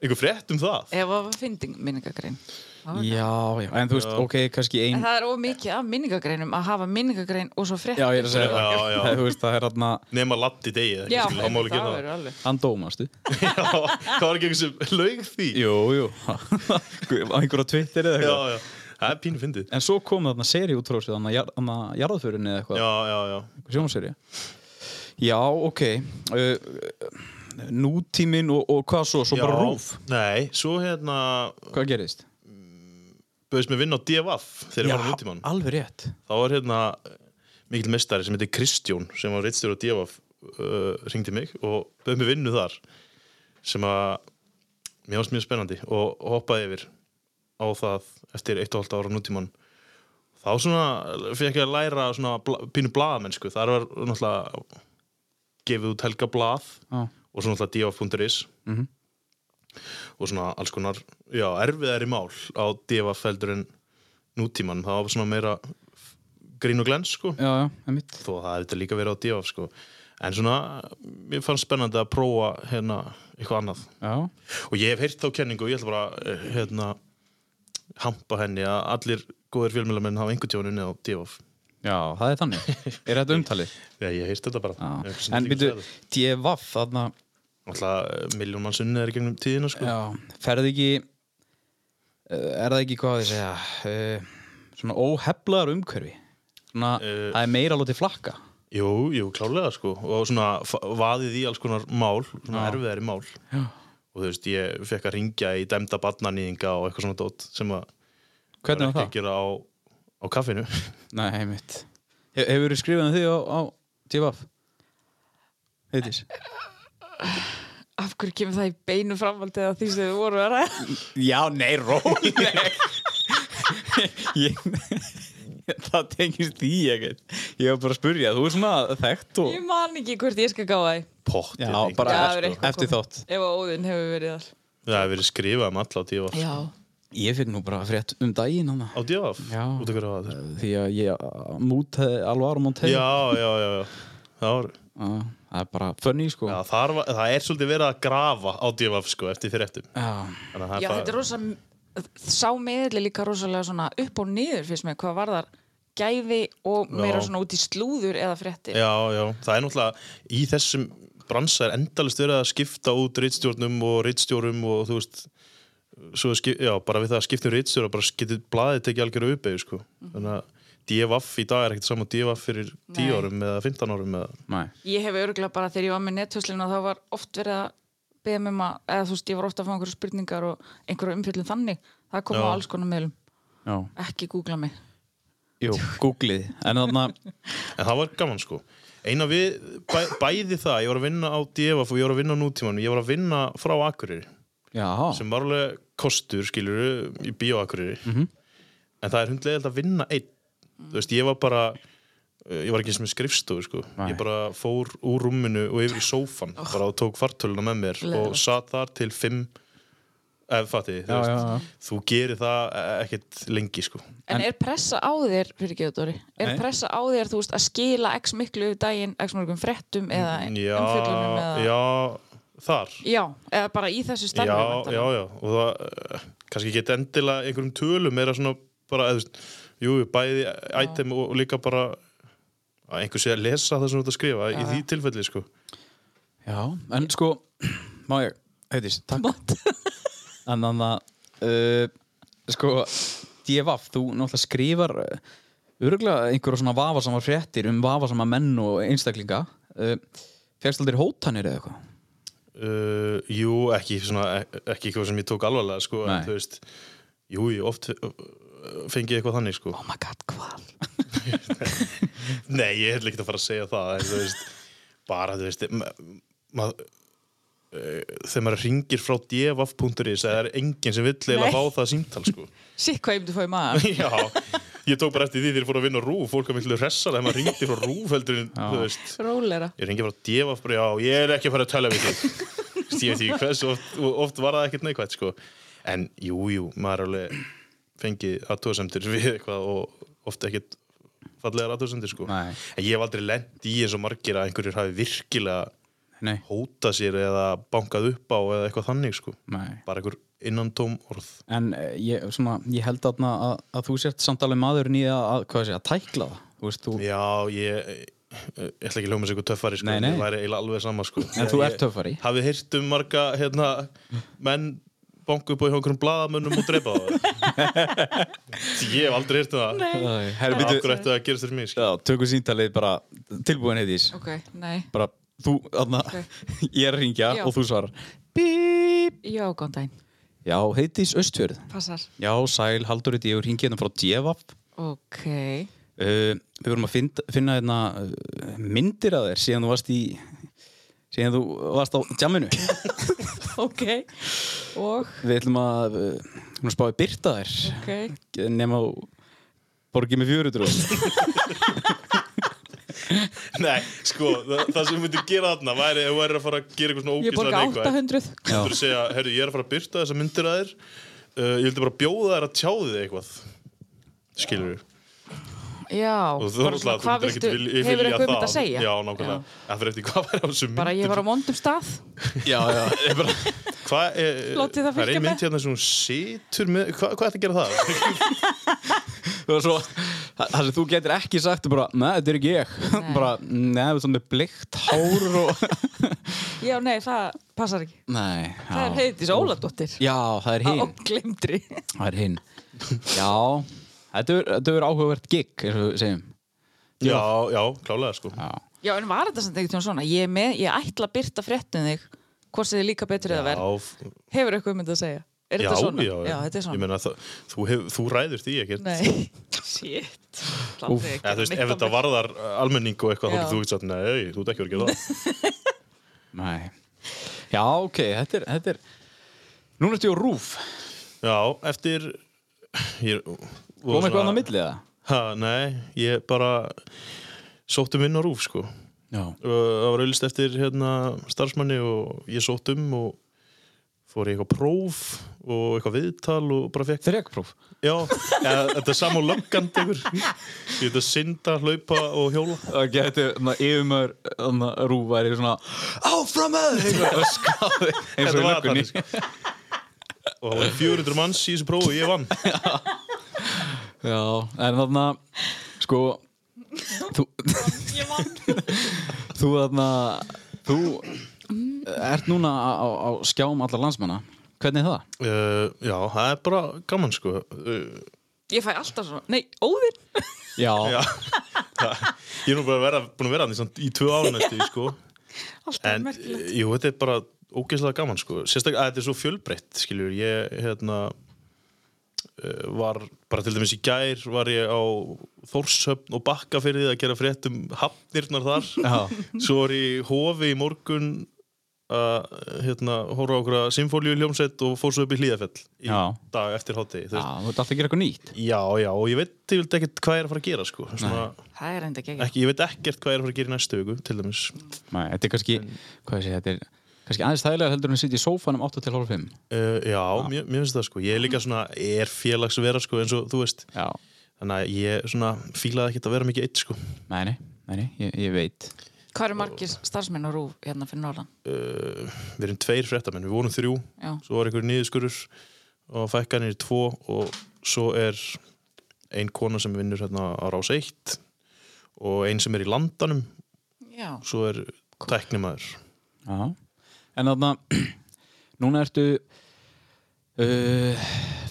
S3: einhver frett um það
S2: Ef það var fynding minningagrein.
S3: Mm.
S1: Já, já, en þú veist, ok, kannski
S2: En
S1: ein
S2: það er ómikið af minningagreinum að hafa minningagrein og svo frétt.
S1: Já, ég er að segja
S3: Já,
S1: það
S3: já.
S1: Þú veist, það er þarna
S3: nema latti degið,
S2: Já,
S3: ekki skilja, það má ekki
S2: það
S3: það
S2: verður alveg.
S1: Hann dómastu
S3: Já, það var ekki einhvers sem laug því
S1: Jú, jú Guð, á Einhverju á Twitter eða
S3: já,
S1: eitthvað
S3: já, það er pínu fyndið
S1: En svo kom þarna seriútrósið, þarna jar- þarna jarðförinni eða eitthvað
S3: já, já, já,
S1: sjónserja Já, ok uh, Nútímin og, og hvað svo? Svo
S3: já
S1: bara rúf
S3: nei, svo hérna
S1: Hvað gerðist?
S3: bauðist mér vinna á DFF þegar ég var á nútíman
S1: alveg rétt
S3: þá var hérna mikil mestari sem heitir Kristjón sem var reitstjóri á DFF uh, ringdi mig og bauð mér vinnu þar sem að mér varst mjög spennandi og hoppaði yfir á það eftir eitt og halvt ára nútíman þá svona fekk ég að læra svona bla, pínu blaðamennsku þar var náttúrulega gefið út helga blað
S1: Já,
S3: og svo náttúrulega df.is
S1: Mhm.
S3: og svona alls konar já, erfiðari mál á df heldur en nútíman, það var svona meira grín og glens sko
S1: já, já, einmitt
S3: þó að það er þetta líka verið á df sko en svona, mér fannst spennandi að prófa hérna eitthvað annað
S1: Já,
S3: og ég hef heyrt þá kenningu og ég ætla bara eh, hérna hampa henni að allir góðir fjölmjölamenn hafa einhvern tjónu á df
S1: já, það er þannig Er þetta umtalið?
S3: Já, ég hef heyrt þetta bara
S1: Já,
S3: Einhver sem
S1: en
S3: þykist
S1: býtu,
S3: þetta.
S1: djevaff þarna
S3: Náttúrulega miljón mann sunni er í gegnum tíðina sko
S1: Já, ferði ekki eh, Er það ekki hvað að ég segja uh, Svona óheflaðar umhverfi Svona,
S3: Eh.
S1: það er meira látið flakka
S3: Jú, jú, klálega sko og svona fa- vaðið í alls konar mál svona
S1: Já.
S3: erfiðari mál
S1: Já.
S3: og þú veist, ég fekk að ringja í dæmda barnanýðinga og eitthvað svona dót sem að
S1: Hvernig
S3: var
S1: var
S3: ekki að
S1: það?
S3: gera á, á kaffinu
S1: Nei, einmitt He, Hefur þú skrifað um því á, á djevaff? Heitis?
S2: Af hverju kemur það í beinu framhaldið að því sem þið voru að ræða?
S1: Já, nei, róleg ég, Það tengist því ekkert Ég var bara að spurja, þú er svona þekkt og
S2: Ég man ekki hvort ég skal gá það í.
S3: Pott
S1: Já, bara
S2: Já, það er
S1: eftir,
S2: eitthvað
S1: eftir
S2: komið.
S1: þátt
S2: Ef að Óðinn hefur verið þar.
S3: Það hefur verið skrifað um alla á divaf
S2: Já.
S1: Ég fikk nú bara frétt um daginn hana
S3: Á divaf?
S1: Já.
S3: Út af hverju var það?
S1: Því að ég uh, mútaði alvar mútaði
S3: Já, já, já, já. Það, var,
S1: Ah, Það er bara funny sko
S3: já, þar var, það er svolítið verið að grafa á divaf sko eftir fyrir eftir
S1: Já.
S3: Þannig að það
S2: Já, þetta er
S3: bara-
S2: rosa, sá meðli líka rosalega svona upp og niður fyrst með hvað varðar gæði og meira
S3: Já.
S2: svona út í slúður eða fréttir.
S3: Já, já, það er náttúrulega í þessum bransa er endalist verið að skipta út rittstjórnum og rittstjórum og þú veist svo, er skip- já, bara við það að skipta um rittstjóra bara getur blaðið tekið algjörðu uppeyju sko. þannig að DFF í dag er ekkert saman DFF fyrir 10
S2: Nei.
S3: árum eða 15 árum eða,
S1: Nei.
S2: Ég hef örgulega bara þegar ég var með netthöslina þá var oft verið að beða mér maður, eða þú veist, ég var ofta að fá einhverju spurningar og einhverju umfjöldin þannig. Það kom
S3: Já.
S2: á alls konar meðlum.
S1: Já.
S2: Ekki googla mig.
S1: Jú, googlið En þannig
S3: en það var gaman sko eina við, bæ, bæði það ég var að vinna á DFF og ég var að vinna á nútímanum ég var að vinna frá Akureyri
S1: Já,
S3: sem var alveg kostur, skilur í bíóakurýri
S1: Mhm.
S3: en það er hundlegilegt að vinna einn þú veist, ég var bara eh, ég var ekki eins með skrifstofu, sko
S1: Nei. Oh.
S3: ég bara fór úr rúminu og yfir í sófan bara og tók fartöluna með mér
S2: Leðilegt.
S3: og satt þar til fimm ef fatti, þú
S1: Já,
S3: veist
S1: já, já.
S3: þú gerir það eh, ekkert lengi, sko
S2: En,
S1: En-
S2: er pressa á þér, fyrir ekki Dóri, er
S1: Nei.
S2: pressa á þér, þú veist, að skila x miklu yfir daginn, x mörgum fréttum eða
S3: já,
S2: umfjöldunum eða...
S3: já, þar
S2: Já, eða bara í þessu starfi.
S3: já,
S2: væntanlega. Oh
S3: já, já, og það eh, kannski geti endilega einhverjum tölum meira svona bara, eða, þú veist, jú, bæði item og, og líka bara að einhver sé að lesa það sem þú ert að skrifa í því tilfelli, sko
S1: já En sko, má ég Hauðis, takk
S2: Mott.
S1: En þannig að uh, sko, divaf, þú náttúrulega skrifar uh, öruglega einhverja svona vafasama fréttir um vafasama menn og einstaklinga uh, Fegst aldrei hótanir eða eitthvað?
S3: Uh, jú, ekki svona, e, ekki eitthvað sem ég tók alvarlega sko, en
S1: Nei.
S3: þú veist jú, ég oft uh, fengi ég eitthvað þannig sko.
S2: Oh my god, hvað?
S3: Nei, ég ætla ekki að fara að segja það en þú veist, bara þú veist ma ma uh, þegar maður ringir frá e dfaf.is það er enginn sem vill eiginlega
S2: Nei.
S3: fá það símtal sko.
S2: Sitt hvað ég myndi að fá í maður.
S3: Já, ég tók bara eftir því þegar ég fór að vinna á rúf fólk að miklu hressa þegar maður ringdi frá rúf heldur en, þú veist,
S2: Rólera.
S3: ég ringi frá dfaf bara, já, ég er ekki að fara að tala við þig Þú veist, ég veit ekki hversu oft, oft var það ekkert neikvægt sko. en jú, jú, maður er alveg fengið aðtóðsendur við eitthvað og oft ekkert fallegar aðtóðsendur sko.
S1: Nei.
S3: en ég hef aldrei lent í eins og margir að einhverjir hafi virkilega
S1: Nei,
S3: hótað sér eða bankað upp á eða eitthvað þannig sko.
S1: nei
S3: bara einhver innantóm orð
S1: En uh, ég, svona, ég held þarna að, að þú sért samt alveg maðurinn í að, að, hvað sé, að tækla það Þú veist, þú,
S3: Já, ég, ég ætla ekki að hljóma sig eitthvað töffari sko,
S1: Nei, nei.
S3: ég væri eiginlega alveg sama sko.
S1: En þú ert töffari.
S3: Hafið heyrt um marga hérna, menn banku upp á hjá einhverjum blaðamönnum og drepa það Ég hef aldrei heyrt um það
S2: Nei.
S1: Æ, herri,
S3: Af
S1: býtu,
S3: hverju ættu það að gerast þér mig
S1: já, tökum síntalið bara tilbúin heiðis
S2: Ok, nei.
S1: bara þú, þarna, ég er að ringja
S2: Já.
S1: og þú svarar Bíp
S2: Já, góðan daginn.
S1: Já, heiðis Östfjörð
S2: Passar.
S1: Já, sæl, haldur þetta ég er ringið hérna frá Djevap
S2: Ok.
S1: uh, Við vorum að finna, finna hérna, uh, myndir að þér síðan þú varst í síðan þú varst á jamminu Við
S2: Ok. Og,
S1: ætlum að, uh, hún spáði byrta þér
S2: ok.
S1: nema þú borgið með 400
S3: Nei, sko, það, það sem myndi gera þarna væri ef þú væri að fara að gera eitthvað svona
S2: Ég
S3: ógíslega
S2: borga
S1: Já.
S2: 800.
S3: Þú þurfir að segja, herru, ég er að fara að byrta þessar myndir að þér uh, Ég vildi bara bjóða þér að tjáði þig eitthvað Skilur við
S2: Já.
S3: og þú
S2: bara
S3: þarf
S2: svona,
S3: alltaf
S2: Hvað viltu, hefur eitthvað um þetta að segja?
S3: já, nákvæmlega, það fyrir eftir hvað væri á þessu
S2: Bara ég var á vondum stað.
S1: Já, já, ég bara
S3: hvað er,
S2: Látið það
S3: er
S2: fylgja
S3: ein
S2: með.
S3: mynd hérna sem hún situr með hvað, hvað ætti að gera það?
S1: og svo, það það sem þú getur ekki sagt er bara, neða, þetta er ekki ég
S2: Nei.
S1: bara, neða, svona blikt hár og
S2: Já, nei, það passar ekki.
S1: Nei,
S2: Það er Ah, heiðis Óladóttir.
S1: Já, það er hinn
S2: Og glemdri.
S1: Það er hinn Já, þetta er, þetta er áhugavert gig eins og við segjum
S3: já, já, klálega sko
S1: Já,
S2: Já, en var þetta samt eitthvað svona? Ég, er með, ég ætla að byrta fréttin þig hvort sem þið líka betri eða verð.
S3: f-
S2: Hefur eitthvað um þetta að segja? Er
S3: já,
S2: þetta svona?
S3: já,
S2: já, þetta er
S3: ég
S2: svona.
S3: meina það, þú, hef, þú ræður því ekkert
S2: Nei, shit
S1: Úff.
S2: Úf,
S3: eða þú veist, ef þetta varðar uh, almenning og
S2: Já.
S3: eitthvað, þá getur þú ekki sagt, nei, þú ert ekki verið að gera það
S1: nei Já, ok, þetta er, þetta er... Núna ertu á rúf
S3: já, eftir ég,
S1: Kom eitthvað annað milli það?
S3: ha, nei, ég bara sóttum inn á rúf sko
S1: Já
S3: Uh, það var auðvist eftir hérna, starfsmanni og ég sótt um og fór í eitthvað próf og eitthvað viðtal og bara fekk
S1: Þrekpróf
S3: já, eða, þetta er samá löggand ykkur ég veit að synda, hlaupa og hjóla
S1: Ok, þetta er svona yfirmaður Þannig að rúf væri svona Áfram með þig Og skáði eins og í
S3: var
S1: löggunni
S3: þannig, sko. og það var 400 manns í þessu prófi og ég vann
S1: Já, en þannig að Sko Þú,
S2: Ég vann
S1: þú þarna Þú ert núna á, á- á skjám allar landsmanna Hvernig er það?
S3: uh, já, það er bara gaman sko uh,
S2: Ég fæ alltaf svona, nei, óðinn
S1: Já,
S3: já það, ég er nú bara að vera, búin að vera hann í, samt- í tvö ánætti sko.
S2: Alltaf
S3: en
S2: merkilegt
S3: jú, þetta er bara ógeðslega gaman sko. sérstaklega að þetta er svo fjölbreytt skiljur, ég hérna eh, var bara til dæmis í gær var ég á Þórshöfn og bakka fyrir því að gera frétt um hafnirnar þar
S1: já.
S3: svo var ég í hofi í morgun að hérna, horfa á okkur að symfólíu hljómsett og fór svo upp í hlíðafell í
S1: Já.
S3: dag eftir hátegi
S1: Já,
S3: já.
S1: þú ert alltaf að gera eitthvað nýtt
S3: já, já, og ég veit ég vildi ekkert hvað ég er að fara að gera sko. Svona,
S2: Það er enda ekki
S3: ekki, ég veit ekkert hvað ég er að fara að gera í næstu viku til dæmis
S1: Nei, þetta er kannski, hvað ég segi, þetta er kannski aðeins þægilega heldur en að sitja í sófanum 8 til hálf 5
S3: Uh, já, mér, mér finnst það sko Ég er líka svona, ég er félagsvera sko eins og þú veist
S1: Já,
S3: Þannig að ég svona fílaði ekkert að vera mikið eitt sko
S1: nei, nei, nei, nei ég, ég veit
S2: Hvað eru margir starfsmenn á rúf hérna fyrir Norðan?
S3: uh, Við erum tveir fréttamenn, við vorum þrjú
S2: Já,
S3: Svo var einhver niðurskurur og fækkanir í tvo og svo er ein kona sem vinnur hérna á rás eitt og ein sem er í landanum
S2: já
S3: svo er tæknimaður
S1: Já, en þarna núna ertu uh,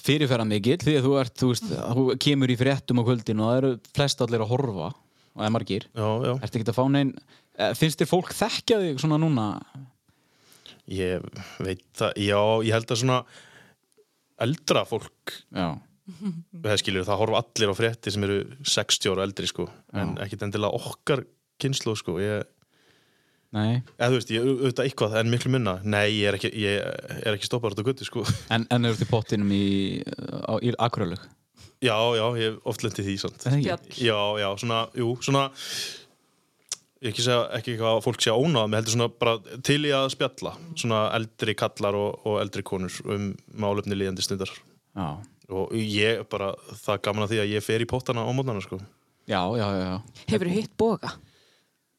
S1: fyrirferða mikill því að þú ert, þú veist, þú kemur í fréttum á kvöldin og það eru flest allir að horfa og það er margir,
S3: já, já.
S1: ertu ekki að fá neinn eh, finnst þér fólk þekkja þig svona núna
S3: Ég veit það, já, ég held að svona eldra fólk
S1: já,
S3: það skilur, það horfa allir á frétti sem eru 60 ára eldri, sko en ekkit endilega okkar kynslu, sko ég,
S1: nei
S3: eða þú veist, ég auðvitað eitthvað, en miklu minna nei, ég er ekki, ég er ekki stoppar út á göttu, sko
S1: en, en eru þið pottinum í, á, í akrölug
S3: já, já, ég hef oft lendið því, sant
S2: Bjall.
S3: já, já, svona, jú, svona ég ekki segja ekki eitthvað að fólk sé ónáð með heldur svona bara til í að spjalla svona eldri kallar og, og eldri konur um málefni líðandi stundar
S1: já,
S3: og ég bara, það er gaman að því að ég fer í pottana á mótnana sko
S1: já, já, já, já.
S2: Hefur hitt boga?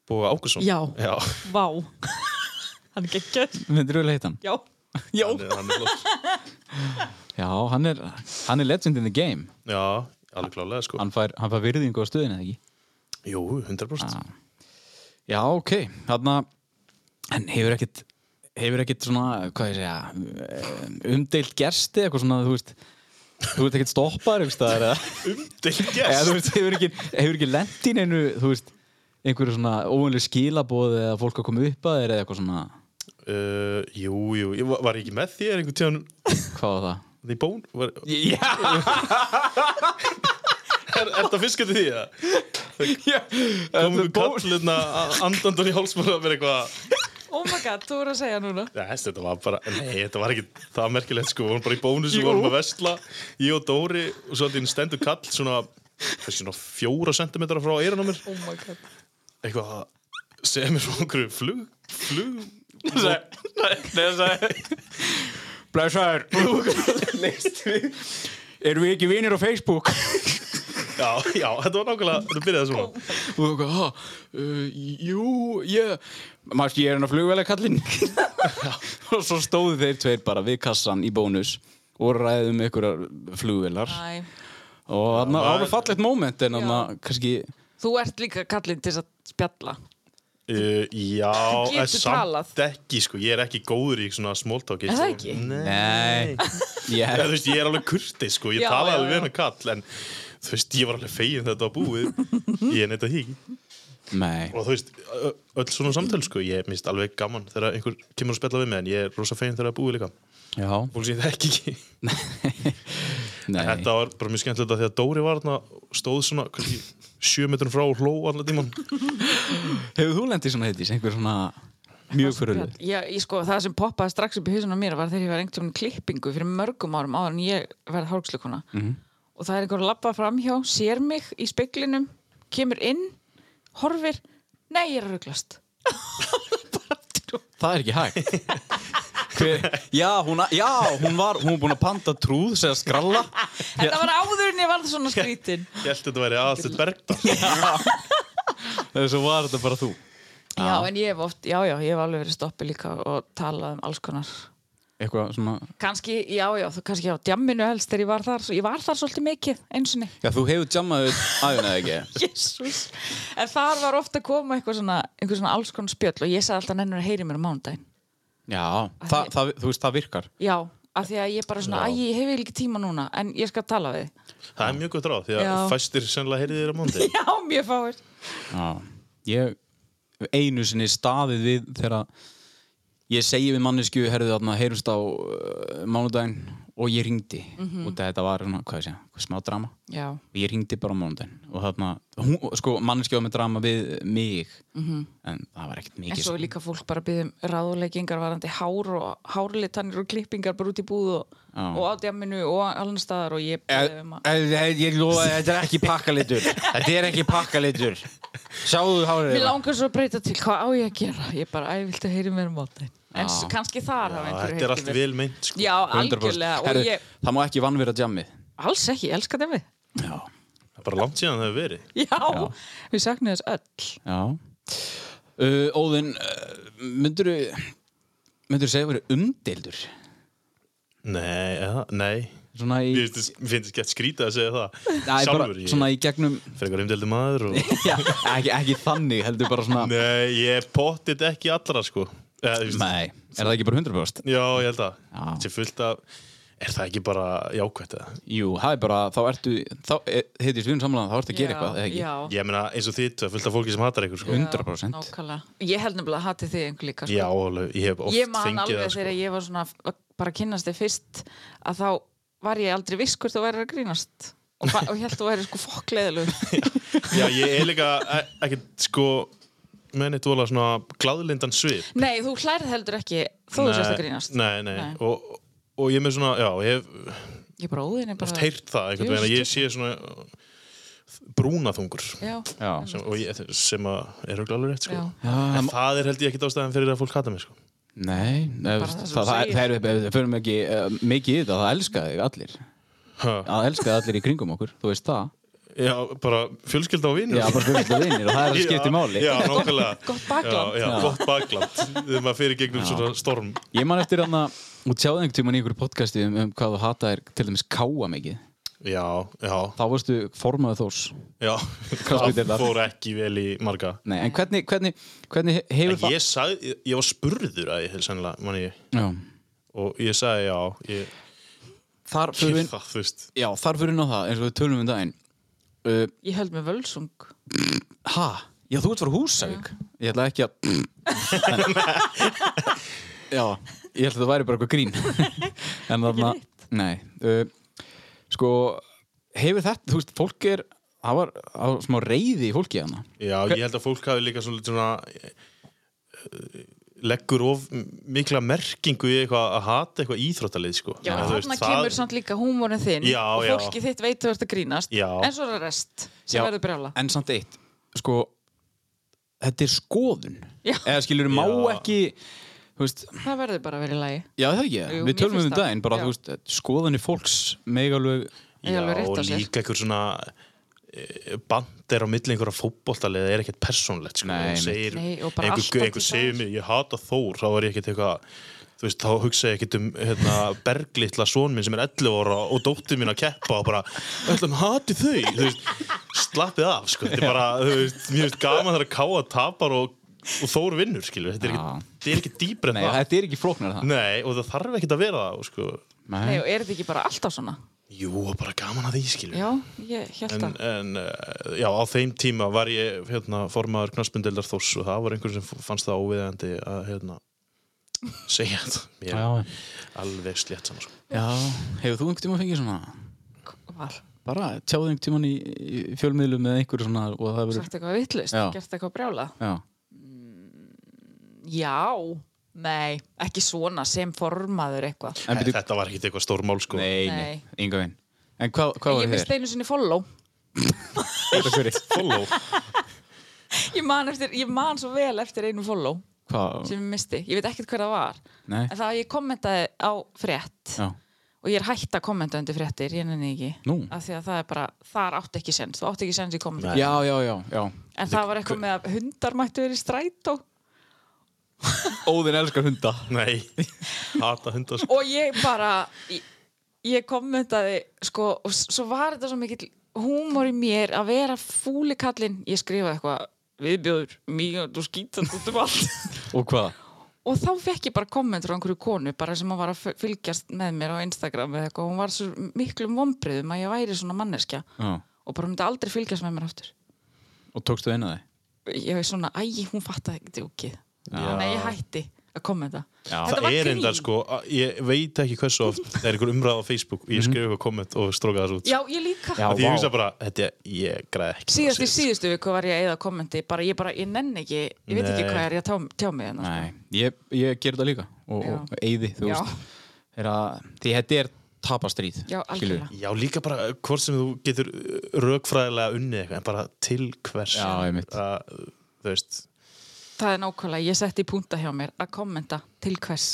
S3: Bóga Ákusson
S2: Já.
S3: já,
S2: Vá Hann er geggjör
S1: myndir þú leita hann?
S2: Já, já
S3: hann, er- hann er flott.
S1: Já, hann er, hann er legend in the game
S3: já alveg klálega sko
S1: hann fær, hann fær virðingu á stöðinu, eða ekki?
S3: jú, 100%
S1: Ah. Já, ok, þarna en hefur ekkit hefur ekkit svona, hvað ég segja eh, umdeilt gersti, eitthvað svona þú veist, þú veist ekkit stoppaður einhvers staðar, eða,
S3: umdil
S1: eða
S3: gæst
S1: þú veist, hefur ekki, hefur ekki lent í neinu, þú veist einhverju svona óvönlu skilabóð eða fólk að koma upp að þér eða eitthvað svona
S3: uh, jú, jú, ég var, var ég ekki með þér einhvern tíðan
S1: hvað var það?
S3: því bón var,
S1: Já,
S3: er, er það fiskandi því að
S1: já,
S3: kom einhver kall hérna andandan í hálsmála að vera eitthvað
S2: Oh my god, þú er að segja núna
S3: Þess, þetta var bara, nei, þetta var ekki það merkilegt sko, við vorum bara í bónus og
S1: Jú.
S3: við vorum að vestla, ég og Dóri og svo allir stendur kall svona, kannski svona fjóra sentimetra frá eyrun á mér
S2: Oh my god
S3: eitthvað að segja mér frá okkur flug, flug
S1: Blessaður Erum við ekki vinir á Facebook?
S3: já, já, þetta var nákvæmlega, þetta byrjaði svona
S1: og þú eitthvað, ha, uh, jú, ég maður, ég er hann að flugvælega kallinn og svo stóðu þeir tveir bara við kassan í bónus og ræðum ykkur flugvélar
S2: Æ.
S1: og þarna
S3: Já,
S1: ára fallegt moment en þarna
S2: Já.
S1: kannski
S2: Þú ert líka kallinn til þess að spjalla
S3: uh,
S2: Þú
S3: já,
S2: getur
S3: en samt
S2: talað.
S3: ekki sko, ég er ekki góður í svona smóltáki
S2: Er það ekki?
S3: Nei,
S1: nei,
S3: Eða,
S1: ég,
S3: þú veist, ég er alveg kurtið sko, ég
S2: Já, já,
S3: talaði alveg
S2: já.
S3: við hennar kall en þú veist, ég var alveg fegin þetta að búið ég er neitt að híkja
S1: nei
S3: og þú veist, ö- öll svona samtöl sko, ég mist alveg gaman þegar einhver kemur að spjalla við mig en ég er rosa fegin þegar það er búið líka
S1: já,
S3: fólk sem ég þekki ekki
S1: nei,
S3: þetta var bara mjög skemmtilegt að því að Dóri var þarna stóð svona kannski, sjö metrun frá og hló allan tíman
S1: hefur þú lendið svona heitis, einhver svona mjög fyrir
S2: Já, ég sko, það sem poppaði strax upp í hausunum á mér var þegar ég var einhvern veginn klippingu fyrir mörgum árum áður en ég verði hálfslökunna og það er einhver að labba framhjá, sér mig í speiklinum, kemur inn horfir, nei, ég er að ruglast
S1: það er ekki hægt Hver, já, hún, a- já, hún var hún var búin að panta trúð, segja skralla
S2: Þetta var áður en ég varð svona skrítin
S3: ég held að þetta væri aðstöð bergdal
S1: þessu var þetta bara þú
S2: Já, en ég hef oft, já, já, ég hef alveg verið stoppið líka og talað um alls konar
S1: eitthvað svona
S2: Kanski, já, já, þú kannski á djamminu helst þegar ég var þar, svo ég var þar svolítið mikið einsinni,
S1: Já, þú hefur jammað aðeina eða ekki?
S2: jésús En þar var ofta að koma eitthvað svona, eitthvað svona alls konar spjöll og ég sagði alltaf nennur að heyri mér á mánudaginn
S1: Já, þa, það, þú veist, það virkar.
S2: Já, af því að ég bara svona, æ, ég hef ekki tíma núna en ég skal tala við þig.
S3: það er mjög gott ráð því að
S2: Já.
S3: fæstir sennilega heyrið þér á móndi
S2: Já, mjög fáir
S1: Já. Ég hef einu sinni staðið við þegar ég segi við mannesku, herðu þarna, heyrumst á uh, mánudaginn og ég ringdi. Út af þetta var, svona, hvað ég segja, eitthvað smá drama.
S2: Já,
S1: Og ég ringdi bara á mánudaginn og þarna, hún, sko, mannesku var með drama við mig, en það var ekkert
S2: Mhm. en
S1: mikið. sko.
S2: svo er líka fólk bara byggðum ráðuleikingar varandi hár og hárlitanir og klippingar bara út í búð og,
S1: Já.
S2: og á djamminu og allan staðar og ég byggði um að
S1: Ég lofa, þetta er ekki pakkalitur. Þetta er ekki pakkalitur. Sjáðu hárið. hérna.
S2: Mér langar svo að breyta til, hvað á ég að gera? Ég bara, æ, viltu heyri mér um mánudaginn En s- kannski þar hafa einhverju
S3: þetta er allt
S2: heyrt í mér.
S3: vel meint sko.
S2: Já, algjörlega og
S1: Herru,
S2: ég,
S1: Það má ekki vannvera jammið.
S2: alls ekki, ég elska djammið
S1: Já.
S3: Það er bara langt síðan það hefur verið
S2: Já, við saknum þess öll
S1: Já. Uh, Óðinn, uh, myndur myndur segja að vera umdeildur
S3: nei, eða, nei
S1: svona í,
S3: ég finnst- finnst ekki að skrýta að segja það
S1: Nei, bara,
S3: sjálfur,
S1: svona
S3: ég
S1: í gegnum
S3: frekar umdeldi maður og
S1: já, ekki, ekki þannig, heldur bara svona
S3: Nei, ég er pottit ekki allra sko Eða, þú veist,
S1: Nei, er það ekki bara 100%?
S3: Já, ég held að
S1: Já.
S3: Þetta er fullt af Er það ekki bara jákvætt eða?
S1: Jú, það er bara, þá ertu, þá heitir sviðum samlega, þá ertu að gera eitthvað, eða ekki?
S2: já,
S3: Ég meina eins og þitt fullt af fólki sem hatar ykkur sko.
S1: Já.
S3: Já,
S1: 100%.
S2: nákvæmlega ég held nefnilega að hati þig einhver líka sko.
S3: alveg, ég hef oft
S2: ég man
S3: fengið
S2: alveg
S3: það
S2: þegar
S3: sko.
S2: ég var svona að bara að kynnast þig fyrst að þá var ég aldrei viss hvort þú væri að grínast og, ba- og ég held þú væri sko fokkleðilug
S3: Já, ég er líka e- ekkert sko Menni dvola svona gladlindan svip
S2: nei, þú hlærið heldur ekki þó þú sérst að
S3: Nei,
S2: grínast
S3: Nei, nei,
S2: Nei.
S3: Og, og ég er með svona, já, ég hef
S2: ég bara óðin ég
S3: oft
S2: bara
S3: heyrt það einhvern veginn að ég sé svona uh, brúnaþungur
S2: já,
S1: Já.
S3: sem, og ég, sem að er auðvitað alveg rétt sko.
S2: já,
S1: Já,
S3: en það er held ég ekkit ástæðan fyrir að fólk hata mig sko.
S1: Nei, það, það,
S2: Bara það sem
S1: það, það,
S2: þú segir.
S1: það, það, það fyrir mig ekki uh, mikið í þetta, það elska þig allir
S3: Ha,
S1: að elska þig allir í kringum okkur, þú veist það
S3: já, bara fjölskylda og vinur
S1: Já, bara fyrir þetta vinnir og það er að
S3: Já,
S1: skipta í máli
S3: já, nákvæmlega
S2: gott bakland.
S3: já, já,
S1: Já.
S3: gott bakland þegar maður fyrir gegnum svona storm
S1: Ég man eftir hann að, og tjáði einhvern tímann í einhverju podcasti um, um hvað þú hata er til dæmis káa mikið
S3: já, já,
S1: Þá varstu formaðu þós
S3: já
S1: Crossfit er það.
S3: fór ekki vel í marga
S1: Nei, en hvernig, hvernig, hvernig hefur
S3: en
S1: það
S3: ég sagði, ég- ég var spurður að ég sennilega, manni ég
S1: Já,
S3: og ég sagði já, ég
S1: þar fyrir
S3: kýr
S1: inn
S3: það, þú veist
S1: Já, þar fyrir inn á það, eins og við tölum um daginn uh,
S2: ég held með völsung
S1: Ha? Já, þú ert frá Húsavík Ég ætla ekki að Já, ég ætla að það væri bara eitthvað grín En þarna Nei uh, Sko, hefur þetta, þú veist, fólk er Það var, það var smá reyði í fólki hana
S3: já, ég held að fólk hafi líka svona, svona eh, leggur of mikla merkingu í eitthvað að hata eitthvað íþróttalið sko.
S2: já,
S3: En þú veist,
S2: þarna kemur samt líka húmórin þinn
S3: Já,
S2: og
S3: já.
S2: fólki þitt veit þú ert að grínast
S3: Já.
S2: en svo er það rest
S1: Já.
S2: sem verður brjála
S1: En samt eitt, sko Þetta er skoðun
S2: Já.
S1: Eða skilur, má
S3: Já.
S1: ekki Þú veist,
S2: það verður bara að vera í lagi
S1: já það ekki,
S2: Jú, mér
S1: við tölum
S2: finnst
S1: um
S2: það.
S1: daginn bara,
S2: Já.
S1: þú veist, skoðunni fólks megalög,
S2: Ég
S3: Já,
S2: alveg rétt
S3: og
S2: á sér.
S3: líka einhver svona eh, band er á milli einhverja fótboltalið er ekkert persónlegt sko.
S1: Nei,
S3: Þú segir,
S2: Nei, og bara
S3: einhver,
S2: alltaf
S3: einhver
S2: til
S3: segir
S2: staðar.
S3: mér, ég hata Þór þá er ég ekkert eitthvað þú veist, þá hugsa ég ekkert um hérna, berglitla son minn sem er 11 ára og dóttir mín að keppa og bara, öllum hati þau þú veist, slappið af sko. þetta er bara, þú veist, mér veist gaman þar að káa tapar og, og Þór vinnur skilur, þetta er
S1: Já.
S3: ekkert, þetta er ekkert dýpr en
S1: nei,
S3: það
S1: þetta er ekki flóknar það
S3: nei, og það þarf ekkert að vera það sko.
S2: Nei, og er þetta ekki bara alltaf svona?
S3: jú, og bara gaman að því skilur
S2: Já, ég held
S3: en,
S2: að
S3: en eh, já, á þeim tíma var ég hérna, formaður knarsmyndildar þors og það var einhver sem f- fannst það óviðandi að hérna, segja þetta mér
S1: Já,
S3: alveg slétt saman sko.
S1: Já, hefur þú einhvern tíma fengið svona
S2: var
S1: bara tjáði einhvern tíman í, í fjölmiðlum eða einhverju svona og það verður
S2: sagt eitthvað vittlust,
S1: Já.
S2: gert eitthvað brjála
S1: Já,
S2: Já, nei, ekki svona sem formaður eitthvað
S1: en byrju
S3: þetta var ekkit eitthvað stór mál sko.
S1: Nei, nei,
S2: Nei.
S1: enga veginn En hvað hva var þér?
S2: Ég misti einu sinni follow
S1: Út af hverju?
S3: Follow.
S2: Ég man, eftir, ég man svo vel eftir einu follow
S1: Hvað?
S2: sem ég misti, ég veit ekkert hver það var
S1: Nei,
S2: en það að ég kommentaði á frétt
S1: já,
S2: og ég er hægt að kommenta undir fréttir, ég nenni ekki
S1: nú
S2: af því að það er bara, þar átti ekki sens þú átti ekki sens í kommentar
S3: Nei.
S1: Já, já, já, já
S2: en það var eitthvað með að hundar mættu verið í strætó
S1: Óðinn elskar hunda
S3: nei, hata hundar sko.
S2: og ég bara ég, ég kommentaði sko, og s- svo var þetta svo mikill húmor í mér að vera fúlikallinn ég skrifaði eitthvað viðbjóður mjög og skítandi út um allt
S1: Og hvað?
S2: og þá fekk ég bara kommentur á einhverju konu bara sem að var að f- fylgjast með mér á Instagram eða eitthvað og hún var svo miklum vombriðum að ég væri svona manneskja
S1: Já,
S2: og bara hún myndi aldrei fylgjast með mér aftur
S1: og tókstu eina þig?
S2: ég var svona, æ, hún fattaði ekki djókið þannig að ég hætti að kommenta
S1: Já.
S2: Þetta
S3: það
S2: var
S3: er
S2: grín.
S3: enda sko, að- ég veit ekki hversu oft það er einhver umræð á Facebook og ég skrifa eitthvað komment og stróka það svo út
S2: Já, ég líka
S1: Mhm. Já,
S3: Af því ég
S1: vá.
S3: hugsa bara, þetta ég græði ekki
S2: síðast í
S3: Síðast.
S2: síðustu viku var ég að eða kommenti bara ég bara, ég nenn ekki, ég veit ekki
S3: Nei.
S2: hvað er ég að tjá, tjá mig hérna
S1: Nei, ég, ég ger þetta líka og,
S2: Já.
S1: og eyði, þú
S2: Já.
S1: veist Þegar að, því þetta er tapastríð
S2: Já,
S1: skilurðu.
S2: algjörlega.
S3: Já, líka bara eh, hvort sem þú getur eh, rökfræðilega unnið eitthvað, en bara til hvers
S1: Já, einmitt.
S3: að, Þú veist,
S2: það er nákvæmlega, ég setti í púnta hjá mér að kommenta til hvers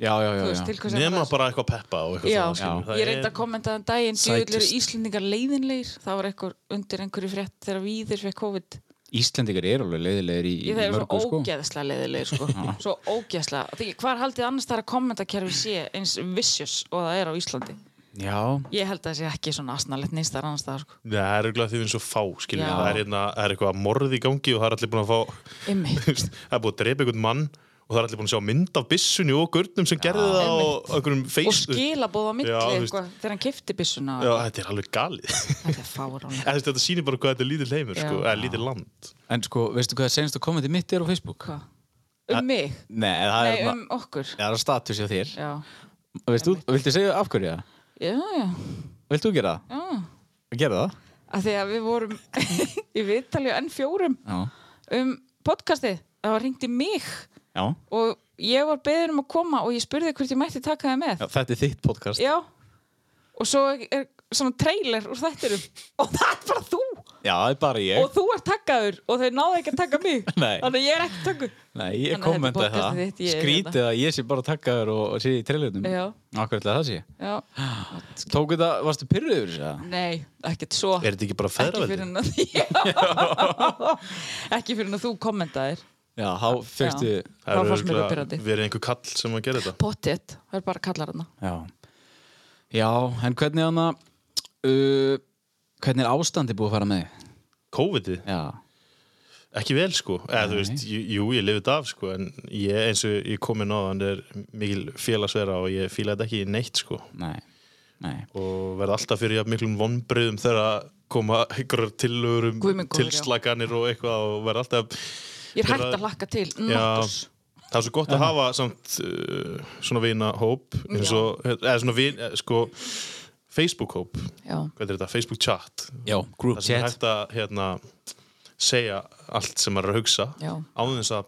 S1: Já, já, já,
S2: þú veist,
S1: já.
S2: til hvers er
S3: nema
S2: það?
S3: bara eitthvað peppa og eitthvað
S2: Já,
S3: svona, skilur, það
S2: ég reyndi að kommenta þann daginn djúðlur
S1: Sækist.
S2: Íslendingar leiðinleir það var eitthvað undir einhverju frétt þegar viðir fyrir COVID
S1: Íslendingar eru alveg leiðilegir í, í
S2: ég það eru
S1: mörgu
S2: svo
S1: sko
S2: ógeðslega leiðinleir sko. svo ógeðslega, Því, hvað er haldið annars það að kommentakerfi sé eins vicious og það er á Íslandi
S1: Já,
S2: ég held að það sé ekki svona asnalett neins þar annars það sko.
S3: Nei, það er auðvitað því við erum svo fá, skiljum
S2: Já.
S3: það er, hérna, það er eitthvað morð í gangi og það er allir búin að fá
S2: Einmitt.
S3: þú veist, það er búin að drepa einhvern mann og það er allir búin að sjá mynd af byssunni og gurnum sem gerði það á
S2: Einmitt.
S3: einhverjum
S2: og
S3: feistu
S2: skilabóð á milli
S3: Já, þú veist.
S2: eitthvað, þegar hann kifti byssuna
S3: Já, þetta er alveg galið
S2: þetta er fáránlegt
S3: En þú veist, þetta sýnir bara hvað þetta er lítill heimur sko,
S2: Já.
S3: eða lítill land
S1: En sko, veistu hvað það senast að komandi mitt er á Facebook?
S2: Hva? um mig,
S1: Nei, það
S2: nei
S1: er,
S2: um okkur
S1: það er að status hjá þér
S2: já,
S1: Veistu, viltu segja af hverju það?
S2: já, já,
S1: Viltu gera það?
S2: já.
S1: Gera það?
S2: að því að við vorum í viðtalju enn fjórum
S1: Já,
S2: um podcastið, það var ringt í mig
S1: já,
S2: og ég var beður um að koma og ég spurði hvort ég mætti taka það með
S1: já þetta er þitt podcast
S2: Já Og svo er svona trailer úr þættinum Og það er bara þú
S1: Já, það er bara ég
S2: Og þú ert takkaður og þau náðu ekki að taka mig
S1: Nei.
S2: Þannig að ég er ekki takkuð
S1: Nei, ég
S2: Þannig að þetta er
S1: kommentaði það
S2: podcastið þitt, ég er hérna.
S1: Skrítið að ég sé bara að taka þér og, og sé í trillunum
S2: Já.
S1: Akkurlega það sé
S2: Já
S1: Tók þetta, varstu pyrruður yfir þessu?
S2: Nei, ekkert svo
S3: Er þetta ekki bara
S2: Ekki fyrir
S3: feðraveldi?
S2: en að Já. Ekki fyrir en að þú kommentaðir
S1: Já, þá fyrstu
S2: Já.
S3: Það
S2: Það fannst
S3: hefur
S2: mér
S3: örugglega
S2: uppbyrjandi.
S3: verið einhver kall sem að gera þetta
S2: Pottet, það er bara kallar hana
S1: Já. Já, en hvernig hana uh, Hvernig er ástandi búið að fara með? þig?
S3: COVID-ið,
S1: Já,
S3: ekki vel sko eða þú veist, jú- jú, ég lifið þetta af sko en ég, eins og ég kom inn á hann er mikil félagsvera og ég fíla þetta ekki í neitt sko
S1: nei, nei
S3: og verða alltaf fyrir jafn miklum vonbröðum þegar að koma einhverjar tillögur um
S2: Guð minn góður, já.
S3: tilslaganir og eitthvað og verða alltaf
S2: Ég er
S3: Þeirra-
S2: hægt að lakka til
S3: Já,
S2: Nótturs
S3: það er svo gott að hafa samt uh, svona vina hóp eins og, eða svona vin, eh, sko Facebook hóp,
S2: Já,
S3: hvað er þetta, Facebook chat
S1: Já, group
S3: það sem er
S1: chat
S3: hægt að hérna, segja allt sem maður er að hugsa
S2: já
S3: áður þess að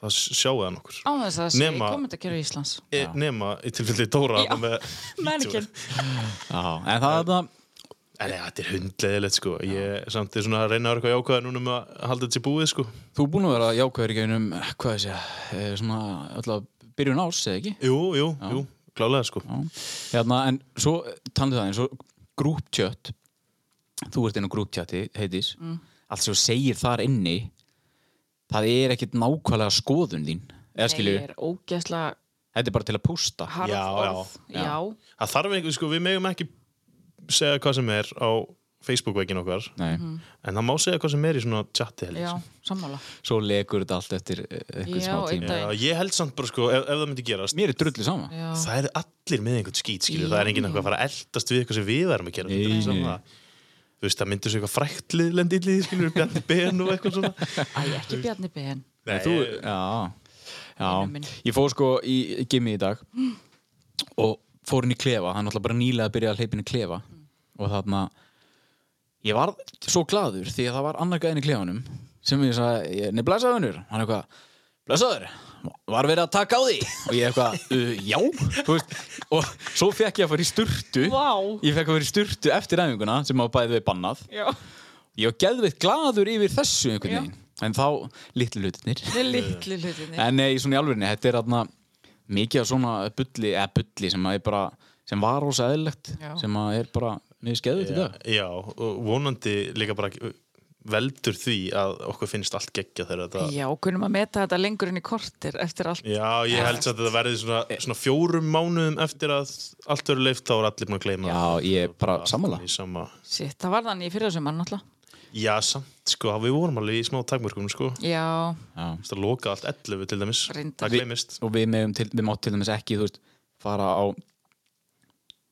S3: það sjáu það nokkur
S2: Á þess að það sé
S3: Nema-
S2: kommentarkerfi Íslands
S3: e, nema í tilfelli Dóra
S2: Já.
S3: þarna með
S2: Mannequin.
S3: vídeóið.
S1: Já, en það er það
S3: En ja, þetta er hundleðilegt sko Ég samt er svona að reyna að vera eitthvað jákvæða núna með að halda þetta sér búið sko
S1: Þú er búin að vera jákvæður í gegnum, eh, hvað þessi, eh, svona, alltaf byrjun ás, eða ekki?
S3: Jú, jú, jú, klálega sko
S1: Já. Hérna, en svo, talandi um það, en svo grúptjött, þú ert inn á grúptjötti, heitis,
S2: Mm.
S1: allt sem þú segir þar inni, það er ekkit nákvæmlega skoðun þín, eða skilju,
S2: Nei, ég er ógeðslega
S1: þetta er bara til að pústa.
S2: harð
S3: Já, já,
S2: orð
S1: já.
S2: já.
S3: Það þarf einhver sko, við megum ekki segja hvað sem er á Facebook-vegin okkar
S1: Nei,
S2: Mhm.
S3: En það má segja hvað sem er í svona chati held ég,
S2: Já,
S3: sko.
S2: sammála
S1: svo legur þetta allt eftir eh, eitthvað
S2: Já,
S1: smá
S2: einn
S1: tíma.
S2: dag.
S3: Já, ég held samt bara sko, ef, ef það myndi gerast
S1: Mér er drullið sama.
S2: Já,
S3: Það er allir með einhvern skýt, skilju Það er enginn eitthvað að fara að eldast við eitthvað sem við erum að gera
S1: Nei,
S3: Þetta er
S1: nei.
S3: svona- Þú veist, það myndir svo eitthvað frækt lendi í liði, skilju, bjarni ben og eitthvað svona
S2: Æ, ekki Bjarni Ben
S3: Nei,
S1: þú, já,
S2: Vinur
S1: já.
S2: minn.
S1: Ég fór sko í í gimmi í dag og fór inn í klefa, hann alltaf bara nýlega að byrja að hleypa inn í klefa og þarna ég var svo gladur því að það var annar gæðin í klefanum sem ég sagði, ég- nei blessaðunur hann eitthvað, blessaður var verið að taka á því og ég eitthvað, uh, já þú veist, og svo fekk ég að fara í sturtu
S2: Vá.
S1: ég fekk að fara í sturtu eftir æfinguna sem á bæði við bannað
S2: Já,
S1: ég var geðveitt gladur yfir þessu
S2: Já.
S1: einhvern veginn en þá litlu hlutinir
S2: það er litlu hlutinni
S1: En nei, svona í alvegni, þetta er atna, mikið af svona bulli, eða bulli sem, að er bara, sem var ósa eðlilegt
S2: Já.
S1: sem að er bara mjög skeðið til
S3: já,
S1: dag
S3: já, og vonandi líka bara uh, veldur því að okkur finnst allt geggja þegar þetta
S2: Já, kunum að meta þetta lengur inn í kortir eftir allt
S3: Eh. Já, ég held samt að þetta verði svona,
S1: Eh.
S3: svona fjórum mánuðum eftir að allt verður leift þá er allir búin að gleyma
S1: Já,
S3: það.
S1: ég er bara
S3: Allt
S1: sammála.
S3: í sama.
S2: Sitt, það var þannig í fyrirsumar náttúrulega
S3: Já, samt sko, við vorum alveg í smá takmörkum sko
S2: Já,
S1: Já.
S3: Það loka allt 11 til dæmis
S2: Reyndar.
S3: Það gleymist
S1: Og við, megum til, við mátt til dæmis ekki þú veist, fara á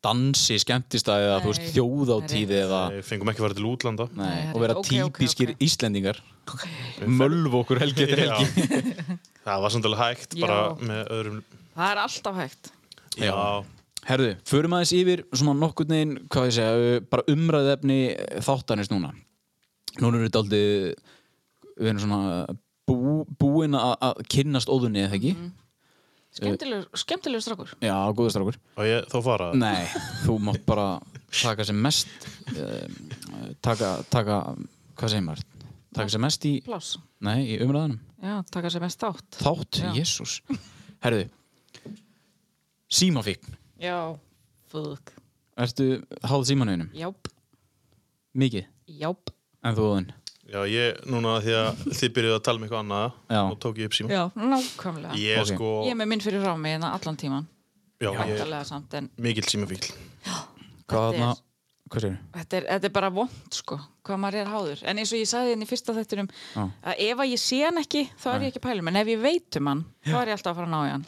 S1: dansi, skemmtistæði eða þú veist,
S2: Nei.
S1: þjóðátíð eða
S3: Við fengum ekki að fara til útlanda
S1: Nei,
S2: Nei,
S1: og vera
S2: ok, ok,
S1: típiskir
S2: ok.
S1: Íslendingar mölv okkur helgi eftir
S3: Já.
S1: helgi
S3: Það var samt alveg hægt bara
S2: Já.
S3: með öðrum
S2: það er alltaf hægt
S1: Já. Herðu, förum aðeins yfir svona nokkurn veginn, hvað ég segja, uh, bara umræðefni þáttanist núna. Núna eru þetta aldrei, við erum svona bú, búin að að kynnast óðunni eða ekki.
S2: Skemmtilegur, skemmtilegur strákur
S1: Já, góður strákur.
S3: Og ég þá fara
S1: Nei, þú mátt bara taka sem mest, uh, taka, taka, hvað segir maður? Taka sem mest í,
S2: Plás,
S1: nei, í umræðanum.
S2: já, taka sér mest átt
S1: Þátt,
S2: Já.
S1: jésús. Herðu, símafíkn.
S2: Já, fúk
S1: Ertu háð símanuðinum?
S2: Jáp,
S1: Mikið,
S2: jáp
S1: en þú óðun?
S3: Já, ég núna því að þið byrjuðu að tala um eitthvað annað
S1: Já.
S3: og tók ég upp síma
S2: Já, nákvæmlega Ég,
S3: Ég
S1: Ok.
S3: sko,
S2: er með minn fyrir frá mig en allan tíman
S3: já, ég
S2: Væntalega samt en
S3: mikill símafíl
S1: Hvað
S2: Þetta er-
S1: þarna, hvað segir
S2: Þetta er, þetta er bara vond sko, hvað maður er háður. En eins og ég sagði henni í fyrsta þettunum,
S1: Já.
S2: að ef að ég sé hann ekki, þá er ég ekki að pæla pælum. En ef ég veit um hann, þá er ég alltaf að fara að ná í hann.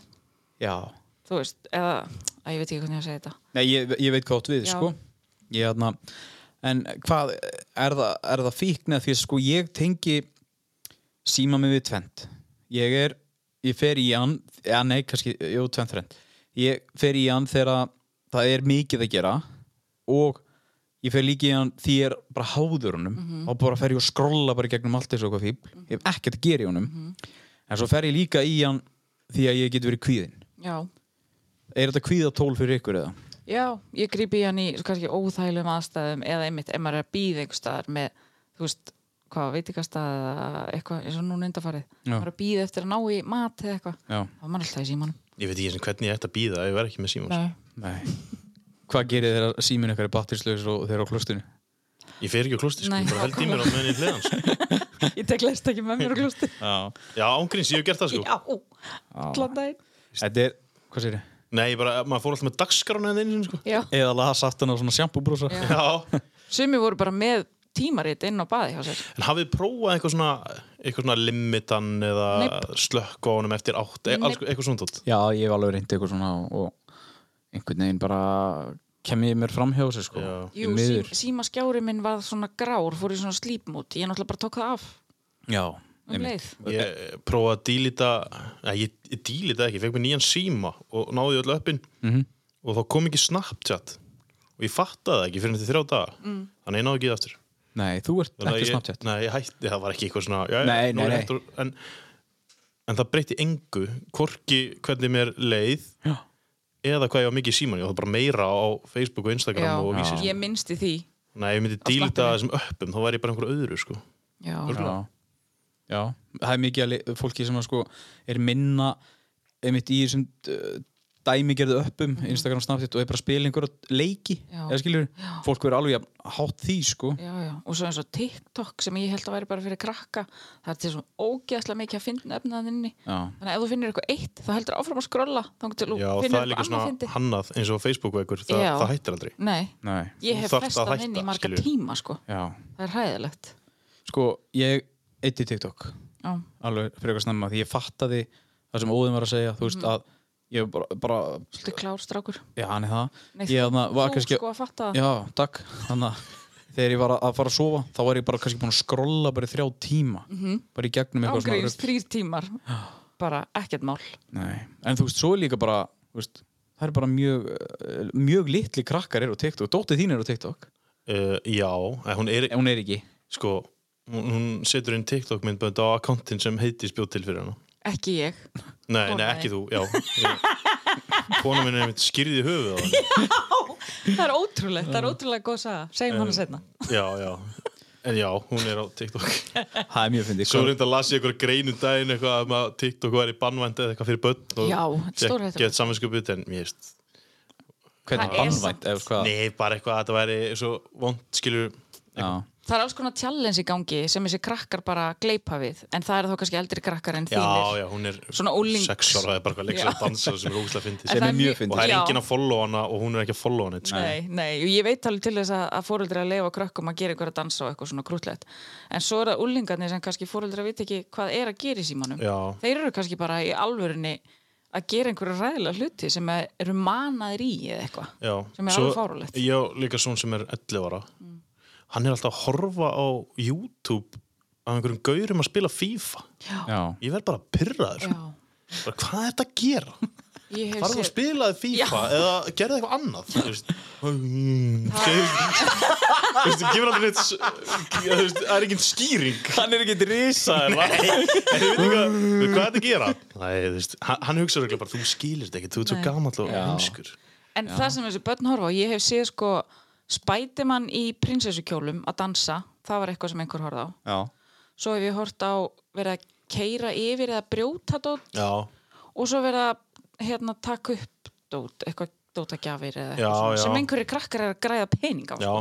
S1: Já.
S2: Þú veist, eða, að ég veit ekki hvernig ég á að segja þetta.
S1: Nei, ég, ég veit hvað átt við,
S2: Já.
S1: sko. Ég, þarna, en hvað, er það, er það fíkn eða því að sko ég tengi síma mig við tvend. Ég er, ég fer í hann, eða nei, kannski, jú, tvend þrend. Ég fer í hann þegar að það er mikið að gera og ég fer líka í hann því ég er bara háður honum og bara fer ég og skrolla bara í gegnum allt þessu eitthvað fíbl. Ég hef ekkert að gera í honum. En svo fer ég líka í hann því að ég get verið kvíðin.
S2: Já,
S1: Er þetta kvíðatól fyrir ykkur eða?
S2: já, ég grípi í hann í svo kannski óþægilegum aðstæðum eða einmitt ef maður er að býða einhver staðar með, þú veist, hvað veit ekki að staða eitthvað, eins og núna undarfarið.
S1: Já.
S2: Maður er að býða eftir að ná í mat eða eitthvað.
S1: Já.
S2: Þá er maður alltaf í símanum.
S3: Ég veit ekki einu sinni hvernig ég ætti að býða ef ég verð ekki með símans.
S2: Nei.
S1: Nei. Hvað gerir þeirra síminn ykkar er batterislaus og þeirra á klostinu?
S3: Ég fer ekki á klústi, sko.
S2: Nei,
S3: Ég bara held í mér á meðan ég hliðan, sko.
S2: Ég tek lest ekki með mér á klústi.
S1: Já.
S3: Já, ángríns, ég hef gert það, sko.
S2: Já, allan daginn.
S1: Þetta er, hvað sér ég?
S3: Nei, ég bara, maður fór alltaf með dagskrana en einu sinni, sko.
S2: Já.
S1: Eða lasaftan á svona sjampúbrúsa.
S2: Já.
S3: Já,
S2: Sumi voru bara með tímarit inn á baði hjá sér.
S3: en hafið þið prófað eitthvað svona, eitthvað svona limitan eða slökk á honum eftir átt, e alls,
S2: Nei.
S3: eitthvað svona tótt.
S1: Já, ég hef alveg reyndi eitthvað svona og einhvern veginn bara kem ég mér fram hjá þessu sko.
S3: Já.
S1: Því
S2: Jú, sí,
S1: miður.
S2: síma minn var svona grár, fór í svona slípmút. Ég náttúrulega bara tók það af
S1: Já.
S2: um leið.
S3: Ég prófaði að dílita, eða ég, ég dílita ekki, ég fekk mér nýjan síma og náði öll uppin
S1: Mm
S2: Mhm.
S1: -hmm.
S3: og þá kom ekki Snapchat og ég fattaði það ekki fyrir þetta þrjá daga,
S2: Mm.
S3: þannig ég náði ekki í það aftur.
S1: Nei, þú ert
S3: Þannig að
S1: ekki
S3: ég-
S1: Snapchat.
S3: Nei, ég hætti, það var ekki eitthvað svona já, já,
S1: Nei,
S3: nú
S1: nei,
S3: er
S1: nei.
S3: hægt úr- En, en það breytti engu Hvorki hvernig mér leið
S1: Já.
S3: Eða hvað ég var mikið í síman Ég var bara meira á Facebook og Instagram
S2: Já,
S3: og vísi
S1: Já.
S3: sko.
S2: ég minnsti því.
S3: Nei, ég myndi
S2: Á
S3: dílita
S2: slappinu.
S3: þessum öppum Þá væri ég bara einhver öðru sko.
S2: Já,
S1: Já. Já. Það er mikið að li- fólki sem að sko er minna einmitt í þessum uh, dæmigerðu uppum Instagram Snapchat og er bara að spila einhverja leiki
S2: Mhm. Já.
S1: eða skilur, fólk verður alveg jafn hátt því sko
S2: já, já. Og svo eins og TikTok sem ég held að væri bara fyrir krakka. Það er til svo ógeðslega mikið að finna efnaðan inni.
S1: Já.
S2: Þannig að ef þú finnir eitthvað eitt, þá heldur áfram að skrolla. Þá til þú
S3: Já, það
S2: finnir
S3: er líka
S2: eitthvað
S3: svona
S2: annað fyndi.
S3: hannað Eins og Facebook veikur, það,
S2: Já.
S3: það hættir aldrei
S2: Nei,
S1: Nei,
S2: ég
S3: Þú
S2: hef
S3: þarft að
S2: festað hann inn í
S3: hætta,
S2: marga
S3: skilur.
S2: tíma, sko.
S1: já
S2: Það er hæðilegt.
S1: Sko, ég eitti TikTok
S2: Já,
S1: alveg frekar snemma því ég fattaði það sem Óðinn var að segja, þú
S2: Mhm.
S1: veist að ég bara, bara
S2: svolítið klár strákur.
S1: já, hann er það
S2: Nei,
S1: ég þarna
S2: þú
S1: var kannski,
S2: sko að fatta það.
S1: já, takk þannig að þegar ég var að fara að sofa þá var ég bara kannski búin að skrolla bara í þrjá tíma
S2: Mhm.
S1: -hmm. bara í gegnum eitthvað svona
S2: Ángriðis,
S1: rugl.
S2: þrýr tímar. Bara ekkert mál.
S1: Nei. en þú veist, svo er líka bara þú veist, það er bara mjög eh, mjög litli krakkar eru á TikTok, dóttið þín eru á TikTok
S3: uh, Já, en hún er
S1: en hún er ekki
S3: sko Hún hún setur inn TikTok myndbönd á akkántin sem heiti spjótt til fyrir hana
S2: Ekki ég.
S3: Nei,
S2: Ó,
S3: nei,
S2: nei.
S3: ekki þú, já Ég- Kona minn er einmitt skýrði höfuð á hann
S2: Það er ótrúlegt, það er ótrúlega góð saga. Segjum hana setna.
S3: Já, já En já, hún er á TikTok
S1: það er mjög fyndið
S3: Svo reynda að lasi ég einhverja greinu daginn eitthvað um að TikTok væri bannvænd eða eitthvað fyrir börn og
S2: Já, þetta er
S3: fékk-
S2: stórhættulegt.
S3: Gett saminskjöput en ég veist
S1: hvernig
S2: Það er
S1: bannvænt
S2: samt-
S1: eða hvað
S3: Nei, bara eitthvað að þetta væri svo vond skilur
S1: Já.
S2: Það er alls konar challenge í gangi sem þessi krakkar bara gleipa við, en það eru þá kannski eldri krakkar en
S3: Já,
S2: þínir.
S3: já, hún er
S2: Svona úlings.
S3: sex ára eða bara eitthvað leiksar
S2: Já.
S3: að dansa sem er ógustlega fyndið
S2: En
S1: Sem er mjög
S3: og
S1: fyndið.
S3: það er
S2: já.
S3: enginn að follow hana og hún er ekki að follow hana sko.
S2: Nei, nei, og ég veit alveg til þess að, að fóreldri að leifa krökkum að gera einhverja dansa og eitthvað svona krútlegt. En svo er það úlingarnir sem kannski fóreldri að vita ekki hvað er að gera í símanum.
S3: Já,
S2: Þeir eru kannski bara í alvörinni að gera einhverja ræðilega hluti sem að eru manaðir í eða eitthvað.
S3: já
S2: Sem er
S3: Svo-
S2: alveg fáránlegt. Mm.
S3: Já, líka svona sem er 11 ára Hann er alltaf að horfa á YouTube af einhverjum gaurum að spila FIFA
S1: Já.
S3: Ég verð bara að pyrra þér
S2: Já,
S3: bara, hvað er þetta að gera?
S2: ég hef
S3: Farðu að
S2: séð...
S3: spilaði FIFA eða gerði eitthvað annað þú veist. Þú veist, þú gefur aldrei neitt s- þú veist, það er engin skýring
S1: hann er ekki risa
S3: það er það en ég veit ekki hvað, þú veist, hvað er þetta að gera Nei, þú veist, hann, hann hugsaður ekki bara þú skilir þetta ekki, þú ert svo
S2: Nei.
S3: gamall og
S1: Já.
S3: heimskur
S2: En það sem þessi börn horfa á, ég hef séð sko spætimann í prinsessukjólum að dansa, það var eitthvað sem einhver horfa á.
S1: já
S2: Svo hef ég hort á verið að keira yfir eða brjóta dót
S3: já,
S2: og svo verið að hérna, taka upp dót, eitthvað dótagjafir eða
S3: Já,
S2: eitthvað svona,
S3: já.
S2: sem einhverju krakkar er að græða pening á.
S3: já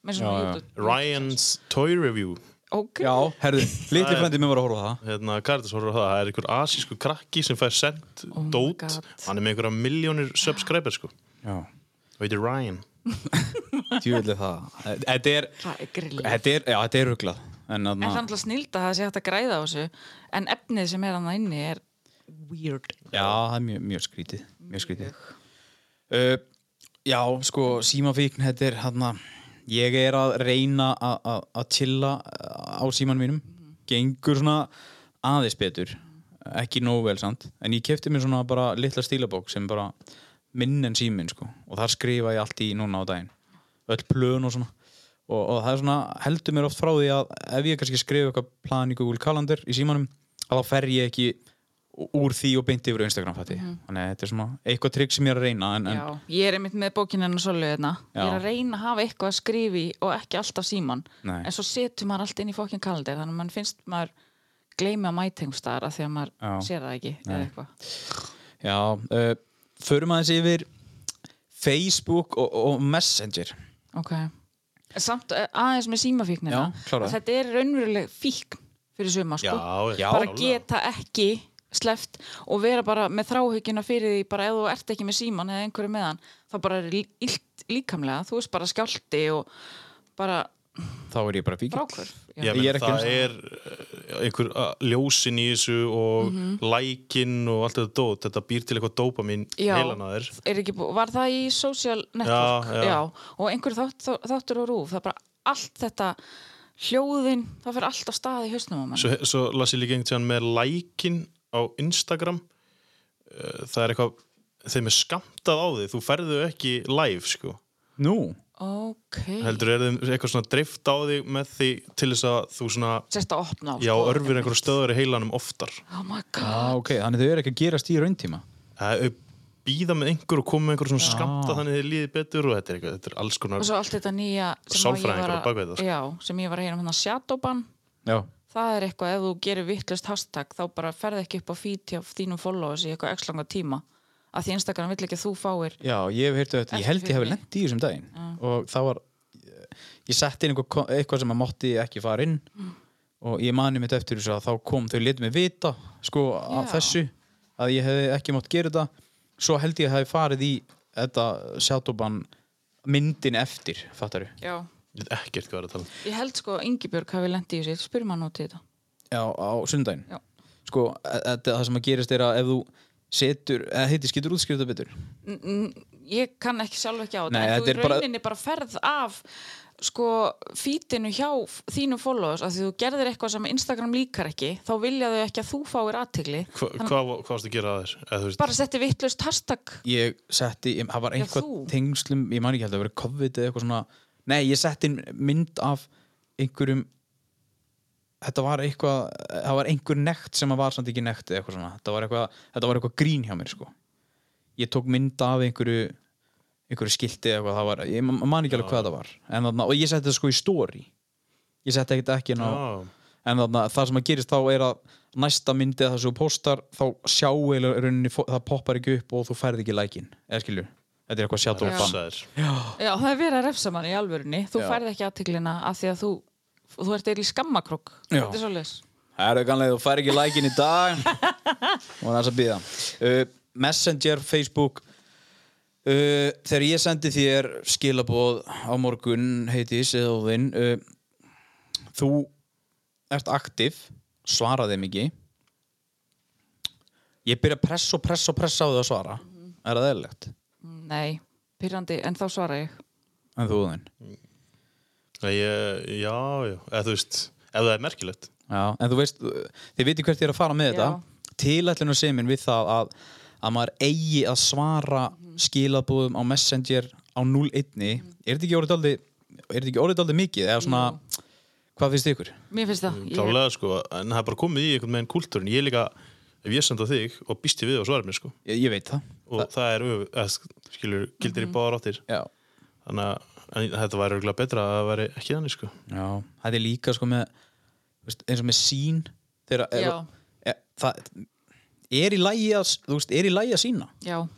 S2: Með svona
S1: Já, já.
S2: YouTube.
S3: Ryan's Toy Review
S2: Ok.
S1: Já, herðu, litli
S3: Það er-
S1: frendi minn var að horfa á það
S3: hérna, hvað er þetta svo horfður á það, það er einhver asísku krakki sem fær sendt
S2: Oh my
S3: dót
S2: God.
S3: hann er með einhverja miljónir subscriber sko
S1: Já,
S3: og heitir Ryan
S1: Tjúvillig það. Þetta er,
S2: Það er grillið.
S1: þetta er, já, þetta er ruglað. En
S2: En það er
S1: þarna,
S2: náttúrulega snild að það sé hægt að græða á þessu en efnið sem er hann inni er weird.
S1: já, það er mjög, mjög skrítið, mjög skrítið. Uh, já, sko, símafíkn, þetta er hérna, ég er að reyna að- að að chilla uh, á símanum mínum. Gengur svona aðeins betur, ekki nógu vel samt. En ég kefti mér svona bara litla stílabók sem bara minn en síminn, sko. Og þar skrifa ég allt í núna á daginn. Öll plön og svona. og, og það er svona, heldur mér oft frá því að ef ég kannski skrifa eitthvað plan í Google Calendar í símanum, að þá fer ég ekki ú- úr því og beint yfir á Instagram fætti. Þannig að þetta er svona eitthvað trygg sem ég er að reyna en, en
S2: Já, ég er einmitt með bókinu hennar svolítið hérna. Ég er
S1: Já.
S2: að reyna að hafa eitthvað að skrifi og ekki alltaf síman.
S1: Nei.
S2: En svo setur maður allt inn í fókinn kaldir þannig að mann finnst maður gleymi að mætingstara þegar maður
S1: Já.
S2: sér það ekki eða eitthvað.
S1: já, uh, förum aðeins yfir Facebook og, og Messenger.
S2: Ok. En Samt eh, aðeins með símafíknina.
S1: Já, kláraðu.
S2: Þetta er raunveruleg fíkn fyrir suma, sko.
S3: Já, já,
S2: bara
S3: klálega.
S2: geta ekki sleft og vera bara með þráhugina fyrir því bara ef þú ert ekki með síman eða einhverju með hann þá bara er illt líkamlega þú veist bara skjálti og bara
S1: Þá er ég bara fíkil.
S2: brákur
S3: Já,
S1: Ég
S3: menn,
S1: er ekki
S3: það
S1: einu
S3: er uh, einhver uh, ljósin í þessu og
S2: Mhm.
S3: mm og allt þetta dót þetta býr til eitthvað dópamin
S2: Já.
S3: heilan að þér
S2: er ekki búið, var það í social network
S3: Já, já.
S2: og einhver þátt, þó- þáttur og rúf það er bara allt þetta hljóðin, það fyrir allt á stað í hausnum á mann
S3: svo, svo las ég líka einhvern tíðan með lækin á Instagram Uh, það er eitthvað þeim er skamtað á þig, þú ferðu ekki live sko,
S1: Nú,
S2: ok,
S3: heldur er þeim eitthvað svona dreift á þig með því til þess að þú svona,
S2: sérst að opna á
S3: já,
S2: sko.
S3: örfir einhverju stöður í heilanum oftar
S2: oh my god,
S1: ah, ok, þannig þau eru ekki að gerast í rauntíma.
S3: það er býða með einhver og koma með einhver svona skamta þannig þið líði betur og þetta er, eitthvað, þetta er alls
S2: og
S3: konar
S2: svo allt þetta nýja sem að ég
S3: Sálfræðingar
S2: var
S3: á bak við
S2: að,
S3: þetta, sko.
S2: já, sem ég var að heyra um hérna shadowban
S1: Já,
S2: það er eitthvað, ef þú gerir vittlust hashtag þá bara ferð ekki upp á feed hjá þínum followers í eitthvað x langa tíma að því Instagram vill ekki að þú fáir
S1: já, ég hef heyrtu þetta, ég held ég
S2: Eftir
S1: hef
S2: fyrir.
S1: lent í þessum daginn og það var, ég setti inn eitthvað, eitthvað sem að mátti ekki fara inn
S2: Mm.
S1: og ég mani mitt eftir þessu að þá kom, þau litum mig vita sko að
S2: Já.
S1: þessu að ég hef ekki mátt gera þetta svo held ég að hef farið í þetta sjáttóban myndin eftir, fattar þú?
S2: já.
S3: Ég veit ekkert hvað er að tala um.
S2: ég held sko að Ingibjörg hafi lendi í þessu spyrum hann út í þetta
S1: Já, á sundaginn
S2: Já.
S1: sko, e- þetta það sem að gerist er að ef þú setur, eða heiti skýtur útskrifta betur
S2: N- n- ég kann ekki sjálf ekki á þetta
S1: Nei,
S2: en
S1: þetta
S2: þú í
S1: er bara-
S2: rauninni bara ferð af sko feedinu hjá f- þínum followers að því þú gerðir eitthvað sem Instagram líkar ekki þá vilja þau ekki að þú fáir aðtigli
S3: Hva, hvað, hvað varst að gera að þér? Eða, þú veist,
S2: bara setti vittlust hashtag
S1: ég setti, ég- það var
S2: Já,
S1: einhvað
S2: þú.
S1: tengslum, ég man ekki held að vera COVID eða eitthvað svona, nei ég setti inn mynd af einhverjum þetta var eitthvað það var einhver nekt sem að var samt ekki nekt eða eitthvað svona, þetta var eitthvað, þetta var eitthvað grín hjá mér sko, ég tók mynd af einhverju, einhverju skilti eða eitthvað, það var, ég man- man ekki alveg hvað það var en þarna, og ég setti þetta sko í story ég setti ekkert ekki ná
S3: Já.
S1: en þarna, það sem að gerist þá er að næsta myndið það sem þú postar þá sjá eða rauninni, fó- það poppar ekki upp og þú færð ekki lækin, eða skilur þetta er eitthvað sjáttófan
S3: refsa þér.
S2: Já, það er verið að refsa mann í alvörunni. Þú
S1: Já.
S2: færð ekki aðtiklina af því að þú, þú ert eil í skammakrók.
S1: Já.
S2: Þetta er svolítið.
S1: það eru kannlega, þú færð ekki lækin í dag og það er þess að býða uh, Messenger, Facebook uh, þegar ég sendi þér skilaboð á morgun heitis eða óðinn uh, þú ert aktiv svara þeim ekki ég byrja að pressa og pressa og pressa á þau að svara er það eðlilegt?
S2: Nei, pyrrandi, en þá svara ég.
S1: En þú þinn
S3: Nei, ég- Já, já, eða þú veist, ef það er merkilegt.
S1: Já, en þú veist, þið viti hvert ég er að fara með þetta Tilætlinu semin við það að að maður eigi að svara
S2: Mhm.
S1: skilabúðum á Messenger á 0-1 Er þetta ekki orðið aldrei er þetta ekki orðið aldrei mikið eða svona hvað finnst ykkur?
S2: Mér finnst
S1: Mm,
S2: það. Ég,
S3: Klálega, sko, en það er bara komið í einhvern veginn kúltúrin. Ég líka, ef ég senda þig og býst ég við og svarar mér, sko.
S1: Ég, ég veit það
S3: Og það, er, öf- eða, sk- skilur, gildir
S2: Mhm.
S3: í báðar áttir.
S1: Já.
S3: Þannig að en þetta væri örgulega betra að það væri ekki þannig, sko.
S1: Já, þetta er líka sko með þú veist, eins og með sín þegar ef,
S2: Já.
S1: e, það er í lægi að þú veist, er í lægi að sína
S2: já,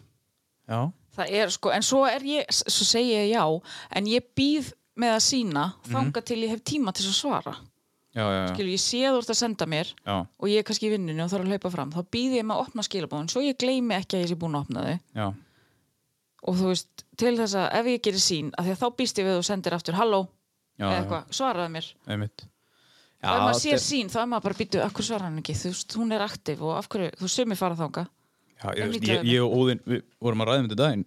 S1: Já,
S2: það er sko, en svo er ég, s- svo segi ég já, en ég býð með að sína þanga til ég hef tíma til þess að svara.
S1: já, Mhm. já, já.
S2: Skilur, ég sé að þú ert að senda mér
S1: já,
S2: og ég er kannski í vinnunni og þarf að hlaupa fram. Þá býð ég með að opna skilabóðin, svo ég gleymi ekki að ég sé búin að opna þau.
S1: já.
S2: og þú veist, til þess að ef ég gerir sín að því að þá býst ég við og sendir aftur halló
S1: Já,
S2: eða
S1: já,
S2: eitthvað, svaraði mér
S1: einmitt.
S2: og ef maður
S1: þetta
S2: sér
S1: er-
S2: sín þá er maður bara býtu, af hverju svarar hann ekki þú veist, hún er aktiv og af hverju, þú sumir fara þanga
S1: Já, ég,
S2: En
S1: veist,
S2: líklega
S1: ég, ég og Óðinn, við vorum að ræða um þetta daginn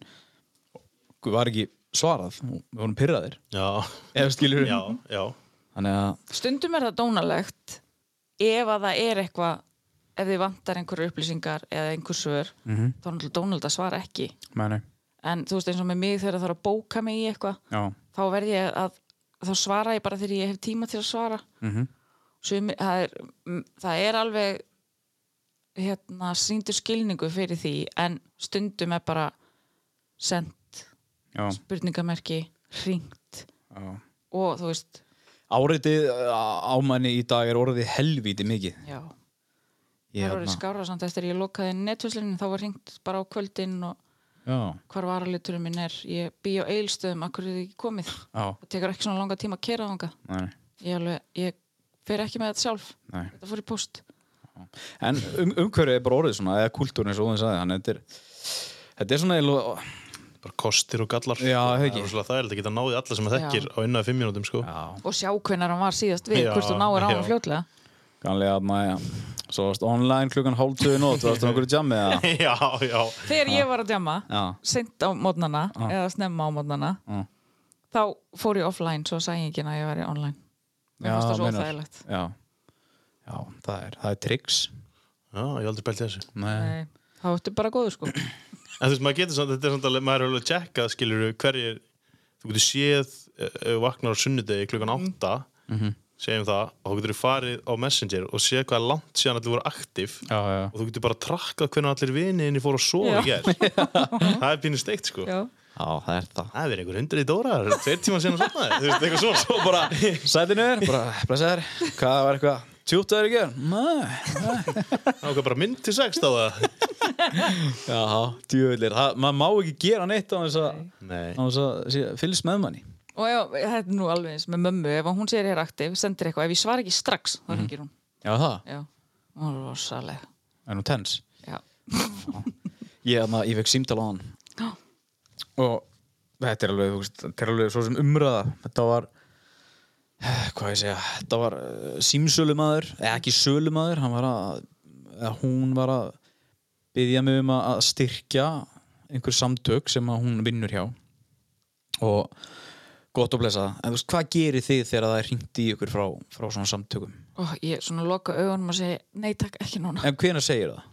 S1: og var ekki svarað og við vorum pyrraðir
S3: Já,
S1: eða skilur
S3: já, já.
S1: þannig að
S2: stundum er það dónalegt ef að það er eitthvað ef þið vantar einhverju upplýsingar eða einhver svör,
S1: Mhm.
S2: þá er náttúrulega dónald að svara ekki
S1: meni,
S2: en þú veist eins og með mig þegar það er að bóka mig í eitthvað
S1: já,
S2: þá verð ég að þá svara ég bara þegar ég hef tíma til að svara
S1: Mhm.
S2: Sumi, það, er, mm, það er alveg hérna síndur skilningu fyrir því en stundum er bara sendt
S1: já,
S2: spurningamerki, hringt
S1: já.
S2: og þú veist
S1: áriðið ámæni í dag er orðið helvíti mikið
S2: já,
S1: Ég
S2: það voru
S1: hérna-
S2: skára samt eftir ég lokaði netvíslunni þá var hringt bara á kvöldin og
S1: já,
S2: hvar varaliturum minn er ég bý á eilstöðum, akkur er þið ekki komið
S1: já,
S2: það tekur ekki svona langa tíma að kera þanga
S1: nei,
S2: ég, alveg, ég fer ekki með þetta sjálf
S1: nei
S2: þetta fór í post
S1: en um, umhverfið er bara orðið svona eða kultúrin eins og Óðinn sagði þannig að þetta er þetta er svona eiginlega-
S3: Bara kostir og gallar. sko.
S1: Já,
S3: það
S1: það
S3: er
S1: ekki.
S3: rosalega þægilegt að geta náðið alla sem að þekkir
S2: Já.
S3: á innan við fimm mínútum, sko.
S1: já,
S2: og sjá hvenar hann var síðast við,
S3: Já,
S2: hvort þú náir á
S3: já.
S2: hann fljótlega
S1: kannlega að maður svo varst online klukkan hálf tvö í nótt varst á einhverju jammi eða
S3: Já, já.
S2: þegar ég var að djama,
S1: já,
S2: seint á mótnana eða snemma á mótnana
S1: Já.
S2: þá fór ég offline, svo sagði ég ekki að ég væri online
S1: Já,
S2: mér fannst það svo
S1: meinar.
S2: óþægilegt
S1: já, já það er það er tricks
S3: Já, ég hef aldrei pælt í þessu.
S1: Nei.
S2: Nei, þá ertu bara góður sko
S3: En þú veist, maður getur samt, þetta er samt alveg, maður er alveg að checka, skilur við, hverjir, þú getur séð, eh, ef þú vaknar á sunnudegi klukkan
S2: Mm.
S3: átta,
S1: Mhm.
S3: segjum það, og þú getur þú farið á Messenger og séð hvað er langt síðan allir voru aktiv
S1: já, já,
S3: og þú getur bara trakkað hvernig allir viniðinni fóru að
S2: Já.
S3: sofa í gerð. það er pínu steikt, sko.
S2: Já.
S1: já, það er það
S3: Það er einhver hundri í dóra, það er tveir tíma síðan að sofnaði, þú veist, eitthvað svona.
S1: og bara, sætinu er, bara, blessaður hvað var eitthvað, tjútaður í gerð? Nei,
S3: Það var bara mynd til sex á það.
S1: já, djúvillir maður má ekki gera neitt á þess að
S3: Nei.
S1: á þess að sé- fylgst með manni
S2: og já, þetta er nú alveg eins með mömmu ef hún sér ég er aktiv, sendir eitthvað ef ég svar ekki strax, þá ringir hún
S1: já, það,
S2: já, hún er rosaleg
S1: er nú tens
S2: já,
S1: ég, þarna, ég fekk símtal á hann og þetta er alveg, þú veist, þetta er alveg svo sem umræða þetta var hvað ég segja, þetta var uh, símsölumæður, eða ekki sölumæður hann var að, eða hún var að byggja mig um að að styrkja einhver samtök sem að hún vinnur hjá og gott að blessa það, en þú veist, hvað gerir þið þegar það er hringt í ykkur frá, frá svona samtökum
S2: og ég svona loka augunum og segi, nei takk, ekki núna
S1: en hvenær segir það?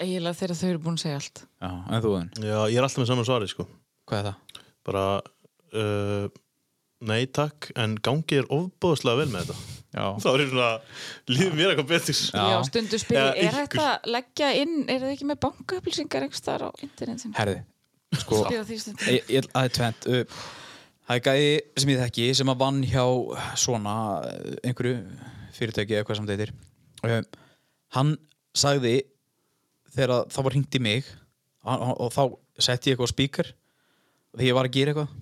S2: eiginlega þegar þau eru búin að segja allt
S1: Já, en þú þinn,
S3: Já, ég er alltaf með saman svarið, sko.
S1: hvað er það?
S3: Bara, uh, nei takk, en gangi er ofbóðslega vel með þetta.
S1: Já,
S3: þá er ég svona, líður mér eitthvað betur
S1: Já.
S2: Já, stundu spyrir,
S3: Eða
S2: er
S3: ykkur.
S2: hægt að leggja inn, er þið ekki með bankaupplýsingar einhvers þar á internetinu?
S1: herði sko,
S2: Spyrir því stundu.
S1: Ég- ég- Það er tvent uh, Það er gæði sem ég þekki sem að vann hjá svona uh, einhverju fyrirtæki eða hvað sem þetta heitir um, Hann sagði þegar að það var hringt í mig og, og, og þá setti ég eitthvað á spíkar þegar ég var að gera eitthvað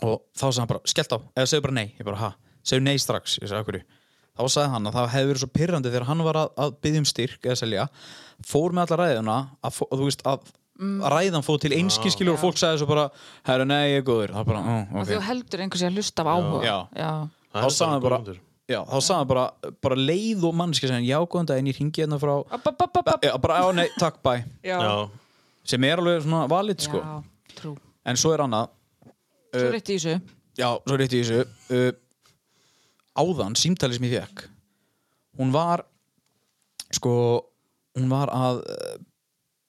S1: og þá sagði hann bara skellt á eða segðu bara nei, ég bara ha, segðu nei strax ég sagði okkur þá sagði hann að það hefði verið svo pyrrandi þegar hann var að, að byggja um styrk eða selja, fór með alla ræðuna að, fó- að þú veist að, að ræðan fór til einskiskilur og fólk sagði svo bara herru nei, ég er góður, það bara, uh,
S2: Okay.
S1: ok
S2: Þú heldur einhversi að hlusta af áhuga.
S1: Já. þá
S3: Það er
S1: sagði hann
S3: bara
S1: bara,
S3: góður.
S1: já, þá sagði hann bara, bara leið og mannski sem já, góðan daginn, ég ringi hérna frá
S2: App, app, app, app, app.
S1: já, bara, já, nei, takk, bæ
S3: Já,
S1: sem er alveg svona valit, sko
S2: Já, trú.
S1: en svo er annað,
S2: Svo rétt í þessu.
S1: já, svo rétt í þessu uh, áðan, símtalið sem ég fekk hún var sko, hún var að uh,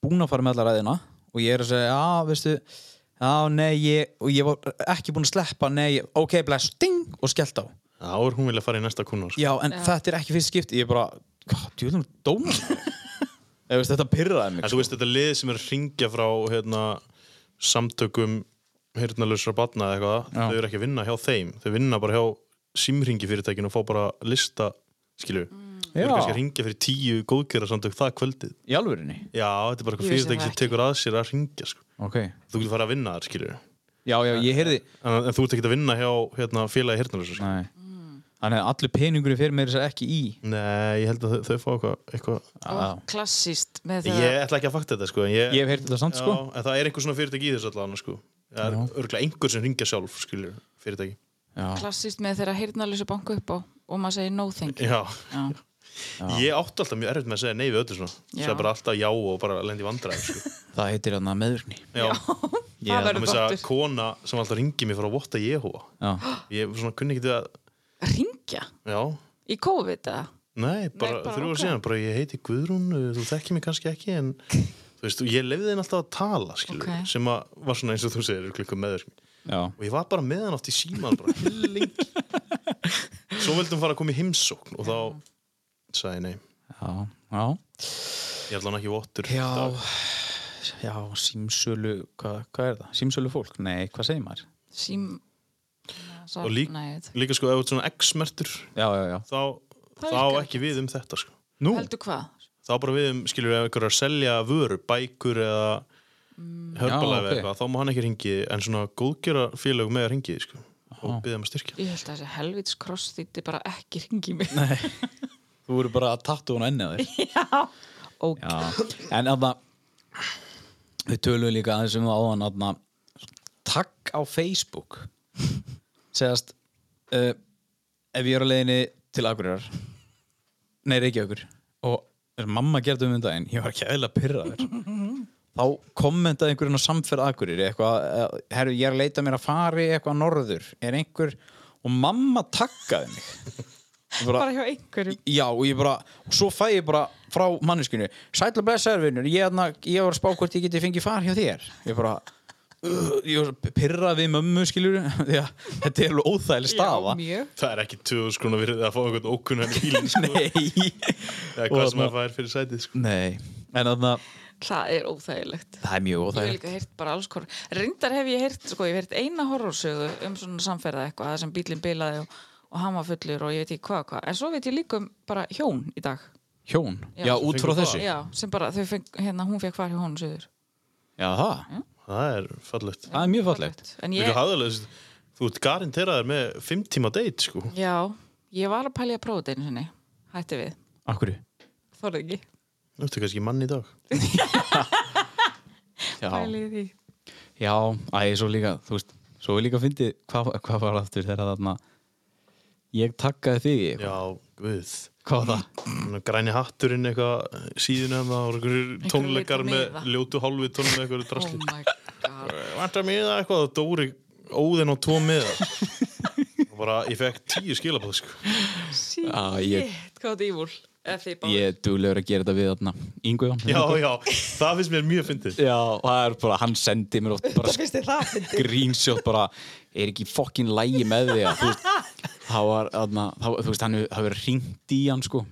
S1: búin að fara með alla ræðina og ég er að segja, já, veistu já, nei, ég, og ég var ekki búin að sleppa nei, ok, bless, ding og skellt á
S3: þá er hún vilja fara í næsta kúnar
S1: Já, en þetta er ekki fyrst skipti Ég er bara, hvað, djúðum dómar Eða veist, þetta pyrraði mig
S3: En þú veist þetta lið sem er að ringja frá hérna, samtökum hirtnalusra batna eða eitthvað
S1: Já.
S3: þau eru ekki að vinna hjá þeim, þau vinna bara hjá símringi fyrirtækinu og fá bara lista skilju,
S1: sko.
S3: þau eru
S1: Já.
S3: kannski að ringja fyrir tíu góðkera samtök það kvöldið
S1: Í alvörinni,
S3: Já, þetta er bara eitthvað
S2: Ég vissi
S3: fyrirtæki
S2: það
S3: sem tekur að sér að ringja sko.
S1: ok
S3: þú getur fara að vinna þar skilju en,
S1: Já, já, ég heyrði
S3: en þú ert ekki að vinna hjá hérna, félagi hirtnalusra
S1: Nei Þannig að allur peningurinn fyrir mér þess að ekki í
S3: Nei, ég held að þau, þau fá eitthvað, eitthvað.
S1: Já.
S2: klassist með það
S3: Ég ætla ekki að fakta þetta sko, en ég,
S1: Ég hef heyrt þetta samt sko
S3: Já, en það er einhver svona fyrirtæki í þessu allan sko. Það er örgulega einhver sem ringja sjálf skilur fyrirtæki
S1: Já,
S2: klassist með þeirra heyrnalösu banku upp á og maður segir no thank you
S3: Já.
S2: Já.
S3: Ég átti alltaf mjög erfitt með að segja nei við öllu svona
S2: Já.
S3: Sæði bara alltaf já og bara lendi vandræð sko.
S1: það heitir hérna hann að meðurni
S3: Já,
S1: Já,
S2: það verður
S3: með þess að
S2: gottur
S3: kona sem alltaf ringi mér frá Votta Jehova
S1: Já,
S3: Ég svona kunni ekki til að
S2: ringja
S3: Já,
S2: í COVID eða
S3: nei, bara,
S2: bara,
S3: þrjú ár
S2: ok.
S3: síðan bara ég heiti Guðrún, uh, þú þekkir mig kannski ekki en þú veist, ég lefði þeim alltaf að tala skilur,
S2: Ok.
S3: sem að var svona eins og þú segir klikkuð meðurkni
S1: já,
S3: og ég var bara með hann oft í síman bara helling svo vildum fara að koma í heimsókn og þá sagði ég nei,
S1: já, já
S3: ég ætla hann ekki vottur í
S1: Já,
S3: dag.
S1: já, símsölu, hvað hva er það? Símsölu fólk? Nei, hvað segir maður?
S2: sím Sá,
S3: Og lík-
S2: nei, þetta-
S3: líka sko, ef þú ert svona x-mertur
S1: Já, já, já.
S3: þá,
S2: Það
S3: þá
S2: virkar
S3: ekki við um þetta sko.
S1: Nú,
S2: heldur hvað
S3: þá bara við um, skilur við ef ykkur er að selja vöru, bækur eða
S1: Já,
S3: hörbalæfi okay.
S1: ok.
S3: eitthvað, þá má hann ekki ringi en svona góðgjöra félög með að ringi sko, og
S1: Aha.
S3: byggja um að styrkja
S2: ég held að þessi helvits kross þýtti bara ekki ringi mig
S1: þú voru bara að tattu hún ennið þér.
S2: já ok
S1: Já, en aðna, við tölum líka aðeins um það áðan, aðna, takk á Facebook. Segast, uh, ef ég er á leiðinni til Akureyrar, nei, Reykjavíkur, og mamma gerði um þetta en ég var ekki eðla pyrraður. þá kommentaði einhverjum á samferð Akureyri eitthvað, eh, herru, ég er að leita mér að fari eitthvað norður, er einhver og mamma takkaði mig Og
S2: bara hjá einhverjum
S1: Já, og ég bara, og svo fæ ég bara frá manneskinu, sætla blessaður vinnur ég, hérna, ég var að spá hvort ég geti fengið far hjá þér ég bara uh, ég var pyrrað við mömmu skilur því að þetta er alveg óþægileg staða
S2: Já, mjög.
S3: það er ekki 2000 skrona virðið að fá einhvern ókunnan bílinn sko,
S1: Nei
S3: eða
S1: Og
S3: hvað sem
S1: þarna-
S3: að fær fyrir sætið sko.
S1: Nei, en þannig að
S2: það er óþægilegt
S1: það er mjög
S2: Ég hef
S1: óþægilegt
S2: líka heyrt bara alls konar. Reyndar hef ég heyrt, sko, ég hef heyrt eina horrorsögu um svona samferða eitthvað, það sem bílinn bilaði og, og hann var fullur og ég veit ekki hvað og hvað. En svo veit ég líka um bara hjón í dag.
S1: Hjón,
S2: Já.
S1: já, út frá
S3: Fengu
S1: þessu Já,
S2: Já, sem bara, þau feng, hérna, hún fekk hvar hjá honum söður.
S1: það,
S2: Mm.
S3: það er fallegt
S1: það er mjög fallegt
S2: En
S3: Líka
S2: ég,
S3: hafðalega, þú veist, þú ert garanteraður með fimm tíma date, sko.
S2: já, ég var að pælja að prófa þetta einu sinni. Hætti við.
S1: Akkur
S2: Þorði ekki.
S3: Þú ertu kannski mann í dag.
S1: Já,
S2: Pælið því.
S1: já, æ, svo líka þú veist, svo er líka fyndið hvað hva var aftur þegar þarna ég takkaði þig í eitthvað.
S3: Já, guð.
S1: hvað var það?
S3: Svona Græni hatturinn eitthvað eh, síðuna það voru einhverjir tónleikar
S2: vill
S3: með
S2: miða.
S3: ljótu hálfi tónum með einhverju
S2: Oh
S3: drasli.
S2: my god.
S3: Vantar mig það eitthvað að Dóri óðin á tvo miða. Og bara, ég fekk tíu skilabóð, sko.
S2: Shit,
S1: Já, ég-
S2: hvað þetta ívúl. Ef þið báðir.
S1: Ég er duglegur að gera þetta við þarna Ingu
S3: Já, já, það finnst mér mjög fyndið.
S1: Já, það er bara, hann sendi mér oft bara
S2: Finnst þér það fyndið?
S1: grínshot bara, er ekki fokkin lægi með þig að, þú veist, þá var aðna, þá, þú veist, hann hefur- það verið hringt í hann sko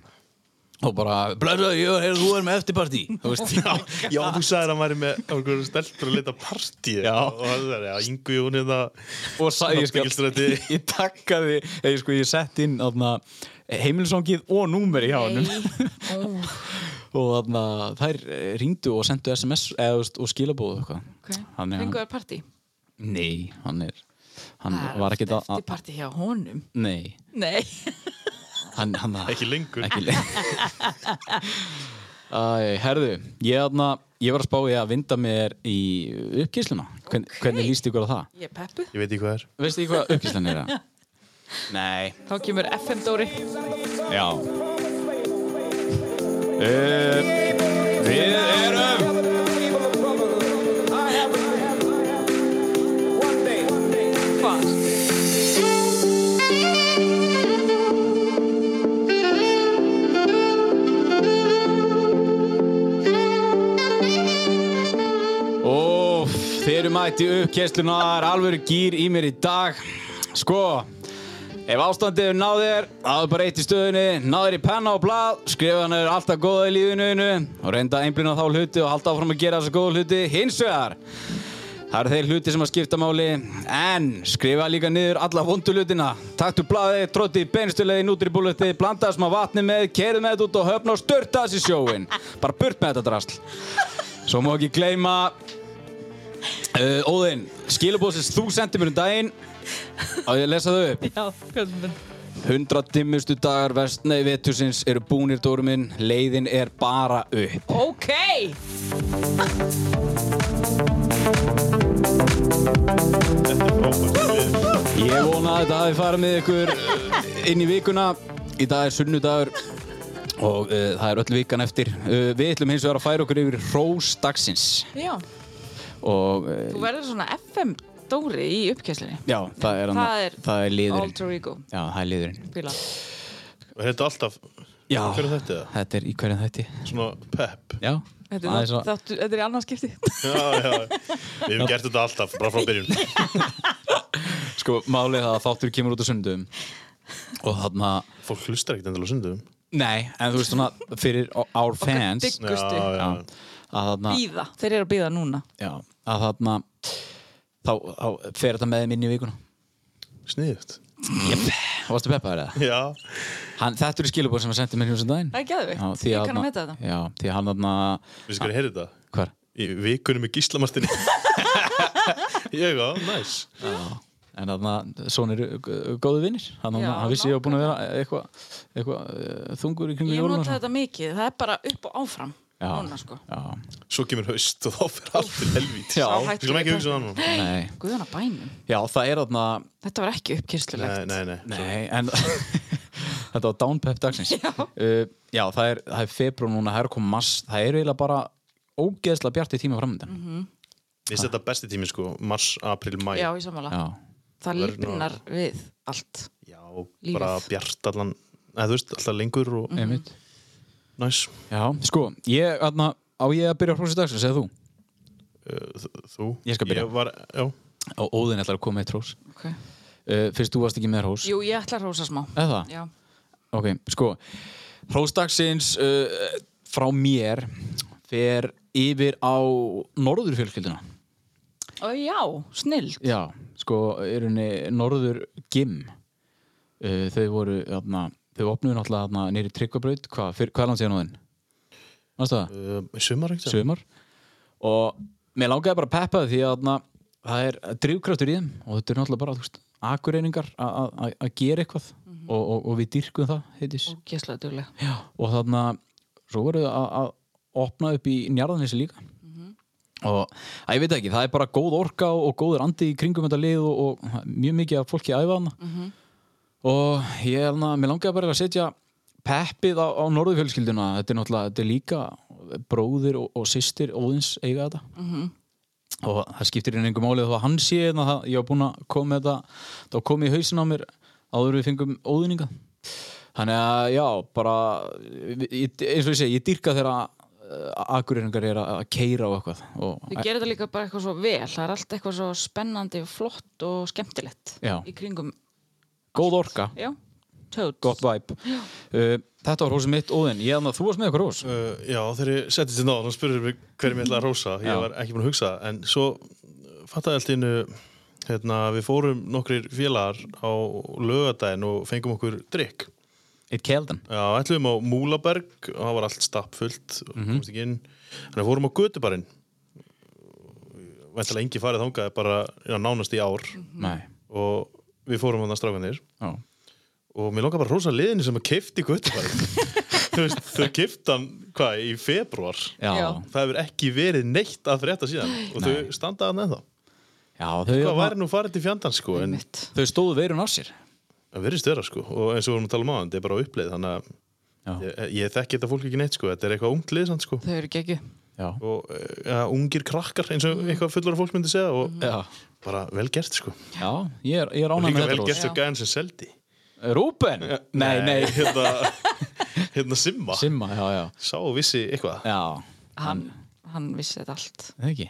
S1: og bara, blöðra, ég er, þú er með eftirparti þú veist, já,
S3: Já, þú sagðir að maður er með einhverju steltur að lita partíð.
S1: Já.
S3: Og það er, já, yngu Jóni hérna. það.
S1: og sagði ég sko
S3: Náttúrgilsrætti.
S1: ég takkaði, eða sko, ég sett inn aðna, heimilsongið og númeri hjá hann
S2: Nei.
S1: og þarna, þær eh, hringdu og sendu sms eða, þú veist, og skilabóðu eitthvað
S2: Okay.
S1: Þannig að hann-
S2: Fengu þér partí?
S1: Nei, hann er hann
S2: Það er
S1: var
S2: oft
S1: ekkert að, að
S2: eftirparti hjá honum
S1: Nei,
S2: Nei,
S1: hann, hann að
S3: Ekki lengur.
S1: Ekki lengur Æ, herðu, ég, aðna, ég var að spá ég að vinda mér í uppkýrsluna Hvern,
S2: Ok.
S1: Hvernig líst ykkur á það?
S2: ég er peppu
S3: Ég veit ekki hvað er.
S1: Veistu ekki hvað uppkýrslan er? eða? Nei,
S2: Þá kemur FM Dóri
S1: já uh, Við erum
S2: Hvað?
S1: Óf, þeir eru mætti uppkessluna, það er alveg gýr í mér í dag. Sko, ef ástandið er náðir, það er bara eitt í stöðunni, náðir í penna og blað, skrifaðan er alltaf góða í lífinu einu og reynda að einblina á þá hluti og halda áfram að gera þessa góða hluti hins vegar. Það eru þeir hluti sem að skipta máli, en skrifa líka niður alla vondu hlutina. Taktu blaðið, trótti í beinstuleiði, nútri búlötti, blandaði smá vatni með, keirðu með þetta út á höfn og störta þessi sjóin. Bara burt með þetta drasl. Svo má ekki gleyma Uh, Óðinn, skilabóð sem þú sendir mér um daginn Á ég að lesa þau upp
S2: Já, hvernig
S1: 100 dimmustu dagar vestnei vetusins eru búnir, Dóri minn. Leiðin er bara upp.
S2: Ok!
S1: Ég vona að þetta hafi farið með ykkur eh, inn í vikuna. Í dag er sunnudagur og uh, það er öll vikan eftir. Uh, við ætlum hins vegar að færa okkur yfir Rós dagsins.
S2: Já,
S1: Og uh,
S2: þú verður svona FM Dóri í uppkesslinni.
S1: já, það er,
S2: Það er-
S1: það er liðurinn.
S2: Alter ego,
S1: Já, það er liðurinn.
S2: píla.
S3: Og er þetta alltaf
S1: Já,
S3: Hver er þetta eða?
S1: þetta er í hverjum þætti.
S3: Svona pepp
S1: Já,
S2: Þetta
S1: aðeins
S2: er,
S1: að-
S2: þáttu, þetta er í annars skipti.
S3: Já, já Við hefum gert þetta alltaf, bara frá byrjun
S1: sko, málið er það að þáttur kemur út á sundum og þarna,
S3: Fólk hlustar ekkert endilega á sundum
S1: nei, en þú veist svona, fyrir our fans,
S2: digg- Gusti.
S3: já,
S1: já, að þarna,
S2: Bíða. Þeir eru að bíða núna.
S1: já, að þarna, þá, þá fer þetta með þeim inn í vikuna.
S3: Sniðut
S1: Varstu peppaður eða?
S3: Já,
S1: Hann, þetta eru skilabóð sem að sendi mér hjómsum daginn.
S2: Það er geðvikt.
S1: Já, því
S2: Ég kann
S1: þarna-
S2: að meta þetta.
S1: Já, því að hann þarna,
S3: við skur að heyra þetta
S1: hvar?
S3: Í vikunum í gíslamastinni Ég á, næs
S1: En þarna, svona eru uh, góðu vinnir. Hann,
S2: Já,
S1: hann vissi ég var búin að vera eitthvað eitthva, uh, þungur í kringu
S2: Ég
S1: jólun og
S2: nota þetta mikið. Það er bara upp og áfram.
S1: Já.
S2: Núna, sko.
S1: Já,
S3: Svo kemur haust og þá fyrir allt til helvít
S1: Já.
S2: Sá
S3: Við skulum
S2: hættu
S3: ekki
S2: við
S3: hugsa um það nú
S1: nei.
S2: Guðan að bænum.
S1: Já, það er þarna,
S2: Þetta var ekki uppkesslulegt.
S3: Nei, nei, nei
S1: nei, en þetta var downpep dagsins.
S2: Já.
S1: uh, já það er, það er februar núna, það er komið mass, það er eiginlega bara ógeðslega bjart í tíma framöndan.
S2: Mhm.
S3: Mér finnst þetta besti tími sko, mars, april, mæ
S2: Já, í samanlega.
S1: Já,
S2: Það
S3: Verður nú-
S2: lífnar við allt.
S3: Já,
S2: Lífið.
S3: bara bjart allan eða þú veist, alltaf lengur og
S2: Mhm.
S1: einmitt.
S3: næs
S1: Já, sko, ég, þarna, á ég að byrja að hrósa dagsins, eða þú?
S3: Uh, þ- Þú
S1: Ég skal byrja.
S3: Ég var, já
S1: og Óðinn ætlar að koma eitt hrós
S2: Okay.
S1: uh, fyrst þú varst ekki með hrós
S2: Jú, ég ætla að rósa smá.
S1: eða það?
S2: Já.
S1: ok, sko hrósdagsins uh, frá mér fer yfir á norður fjölskylduna
S2: Ó, já, snillt.
S1: já, sko, er henni norður gim uh, þau voru, þarna, þau opnuðu náttúrulega þarna, nýri tryggvabraut, hvað, fyr- hvað er hann síðan á þinn? Vannst það?
S3: Uh, Sumar ekkert
S1: sumar og mér langaði bara að peppa þau því að þarna, það er drivkraftur í þeim og þetta er náttúrulega bara þú veist, akureyningar a- a- a- að gera eitthvað og, og, og við dyrkum það heitis.
S2: Ógeslega duglega.
S1: Já, og þarna svo voru þau að- að opna upp í njarðanessi líka og að ég veit ekki, það er bara góð orka og, og góður andi í kringum þetta lið og, og það er mjög mikið af fólki að æfa hana og ég er hana, mér langaði bara að setja peppið á, á norðufjölskylduna þetta er náttúrulega, þetta er líka bróðir og, og systir óðins eiga þetta og það skiptir inn einhver máli þó að hann sé en það, ég var búinn að koma með þetta þá kom í hausin á mér áður en við fengum óðninga þannig að já, bara ég, eins og ég segi, ég dýrka þegar eh, akureyringar er að keira og eitthvað og
S2: Þau gerir þetta líka bara eitthvað svo vel. Það er allt eitthvað svo spennandi, flott og skemmtilegt
S1: Já.
S2: í kringum.
S1: góð orka,
S2: Já, tótt.
S1: gott væp uh, þetta var hrósum mitt óðinn, ég þannig að þú varst með eitthvað hrós
S3: Uh, já, þegar ég settist hérna þetta á, þá spurður mig hverjum ég ætla að rósa. Ég
S1: Já.
S3: var ekki búin að hugsa, en svo fattaði allt innu, hérna, við fórum nokkrir félagar á lögadaginn og fengum okkur drikk.
S1: eitt keldan,
S3: Já, ætlum á Múlaberg og það var allt stappfullt og komst ekki inn. Þannig að fórum á Götubarinn. Væntalega engi farið þangað bara já, nánast í ár
S1: nei
S3: og við fórum á það strákanir
S1: já,
S3: og mér langar bara að rósa liðinu sem að kefti Götubarinn. Þú veist, þau kefti hann, hvað, í februar?
S1: já, já.
S2: Já.
S3: það hefur ekki verið neitt að frétta síðan og þau standaði hann ennþá
S1: þau, hérna-
S3: hvað Sko, væri nú farið til fjandans sko en
S2: Mitt.
S1: þau stóðu veirun af sér
S3: það verðist vera sko og eins og við vorum að tala um aðan, þetta er bara á uppleið þannig að
S1: já,
S3: ég, ég þekki þetta fólk ekki neitt sko þetta er eitthvað ungt liðsand sko
S2: Þau eru geggu.
S1: já,
S3: og eh, ja, ungir krakkar eins og eitthvað fullur fólk myndi segja og
S1: já.
S3: bara vel gert sko og
S1: já ég er, ég er ánægð
S3: líka
S1: með
S3: vel
S1: þetta
S3: gert
S1: hrós
S3: þau gæðan sem seldi
S1: Rúben, nei, nei,
S3: hérna, hérna Simma
S1: Simma, já, já
S3: sá og vissi eitthvað
S1: Já,
S2: Hann, hann vissi þetta allt.
S1: það ekki